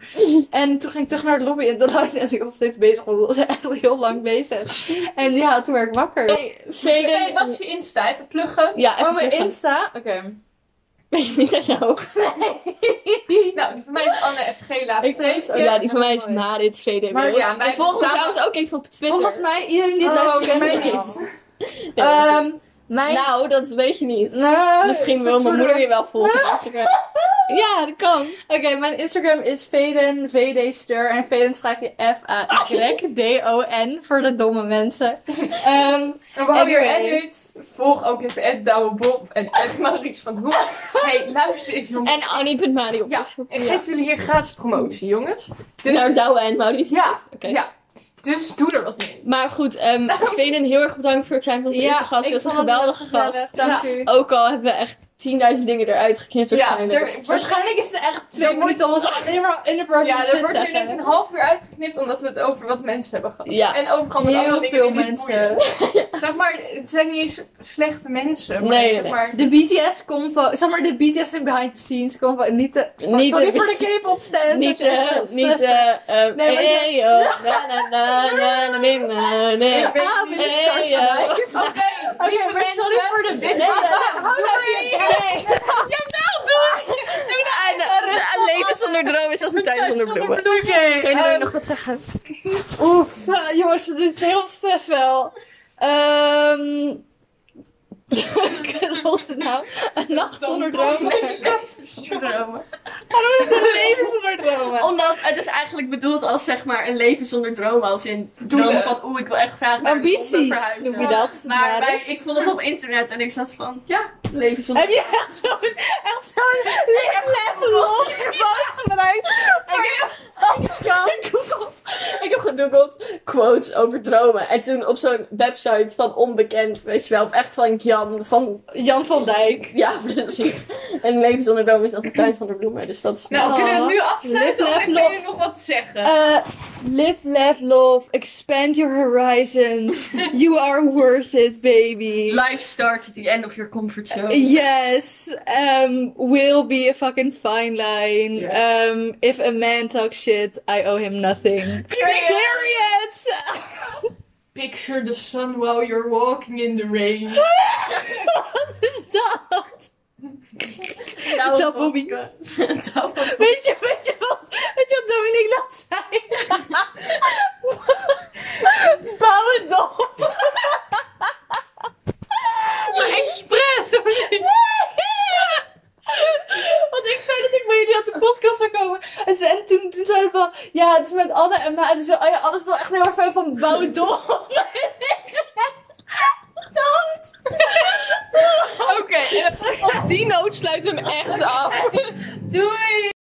S1: En toen ging ik terug naar de lobby. En toen had ik, en ik was steeds bezig. Want we was echt al heel lang bezig. En ja, toen werd ik wakker.
S3: Velen-
S2: Nee, wat is je Insta? Even pluggen.
S3: Ja, even
S1: oh, mijn
S3: terug-
S1: Insta? Oké.
S3: Weet je niet uit je hoofd.
S2: Nou, die van mij is Anne FG laatste.
S1: Ik lees-
S3: Oh, ja, die van mij is Marit VDB.
S2: Maar ja, wij
S3: volgens
S2: samen-
S3: trouwens ook even op Twitter.
S1: Volgens mij, iedereen die het
S2: Oh,
S1: luistert
S2: voor
S1: kent
S2: mij
S1: het wel.
S2: niet.
S3: Nee, dat is het.
S1: Ehm, mijn... Nou,
S3: Nou, dat weet je niet.
S1: Nee,
S3: Misschien
S1: een
S3: wil
S1: soort van-
S3: mijn moeder je wel volgen. op Instagram. ja, dat kan.
S1: Oké, mijn Instagram is Veden, VD Stur. En Veden schrijf je F-A-Y-D-O-N voor de domme mensen. Ehm,
S2: En we hebben hier
S1: Anyway.
S2: edit. Volg ook even Ed Douwe Bob en Ed Maurice van Hoek. hey, luister eens jongens.
S3: En Annie.Mari op
S2: Ja,
S3: Facebook.
S2: Ik geef jullie hier gratis promotie, jongens. Dus,
S3: Naar Douwe en Maurice.
S2: Ja,
S3: Oké.
S2: ja. Dus doe er wat mee.
S3: Maar goed, ehm Velen, heel erg bedankt voor het zijn van onze eerste gast. Je was een geweldige gast.
S1: Dank
S2: Ja.
S1: u.
S3: Ook al hebben we echt 10.000 dingen eruit geknipt.
S2: Ja,
S3: waarschijnlijk.
S2: er,
S1: Waarschijnlijk is het echt twee
S2: Er wordt-
S1: minuten om het alleen maar in de burger
S2: ja, er wordt
S1: te
S2: weer denk ik een half uur uitgeknipt omdat we het over wat mensen hebben gehad.
S3: Ja.
S2: En overal met
S1: Heel
S2: allemaal dingen
S1: veel
S2: die niet
S1: mensen.
S2: boeien. Zeg maar, het zijn niet eens slechte mensen. Maar
S3: Nee, nee,
S2: zeg
S3: nee.
S2: maar,
S1: De BTS convo, zeg maar de BTS in behind the scenes convo, niet de...
S3: Niet
S1: sorry
S3: de-
S1: voor de K-pop stand.
S3: Niet, eh, niet,
S1: de...
S3: eh,
S1: Nee, maar
S3: eh, eh, yo, na, na, na, na, na, na, na, na.
S2: ik weet
S1: Ah,
S2: niet.
S1: met de stars
S3: Eh, ja.
S1: erbij.
S2: Oké,
S1: Oké, maar sorry voor de
S6: Dit was het.
S1: nou
S6: Doei. Jawel, doei. Doe nou. Een leven zonder droom is als een tuin zonder bloemen.
S1: Oké,
S6: Kun je
S1: ehm,
S6: nog wat zeggen?
S1: Oef, eh, jongens, dit is heel stress wel. Ehm. Wat was het nou? Een nacht zonder dromen. Een nacht zonder dromen. Waarom is het een leven zonder dromen?
S3: Omdat het is eigenlijk bedoeld als zeg maar een leven zonder dromen. Als in dromen
S2: Doelen.
S3: van oeh, ik wil echt graag naar Londen
S1: Ambities
S3: verhuizen.
S1: noem je dat.
S3: Maar bij-
S1: Marit?
S3: ik vond het op internet en ik zat van ja, leven zonder
S1: Heb je echt zo'n echt zo'n lip level op
S11: Ik heb gegoogeld quotes over dromen. En toen op zo'n website van onbekend, weet je wel. Of echt van Jan, van...
S1: Jan van Dijk.
S11: Ja, precies. En leven zonder droom is altijd thuis van de bloemen. Dus dat is...
S2: Nou, kunnen we het nu
S1: Live,
S2: afsluiten of
S1: laugh,
S2: ik wil je nog wat zeggen?
S1: Eh, live, laugh, love. Expand your horizons. You are worth it, baby.
S3: Life starts at the end of your comfort zone.
S1: Yes, um, will be a fucking fine line. Um, if a man talks shit, I owe him nothing.
S2: Period.
S1: Period.
S2: Picture the sun while you're walking in the rain.
S1: Wat is dat?
S3: Nou,
S1: is dat Bobby? Weet je, weet je wat? Weet je wat Dominique laat zijn? Bouw het op.
S2: Express!
S1: Want ik zei dat ik bij jullie had de podcast zou komen. En, ze, en toen, toen zei ze van, ja, het is met Anne en mij. En zo, oh ja, Anne is wel echt heel erg fan van bouw het op.
S6: Oké, en op die noot sluiten we hem echt af.
S1: Doei!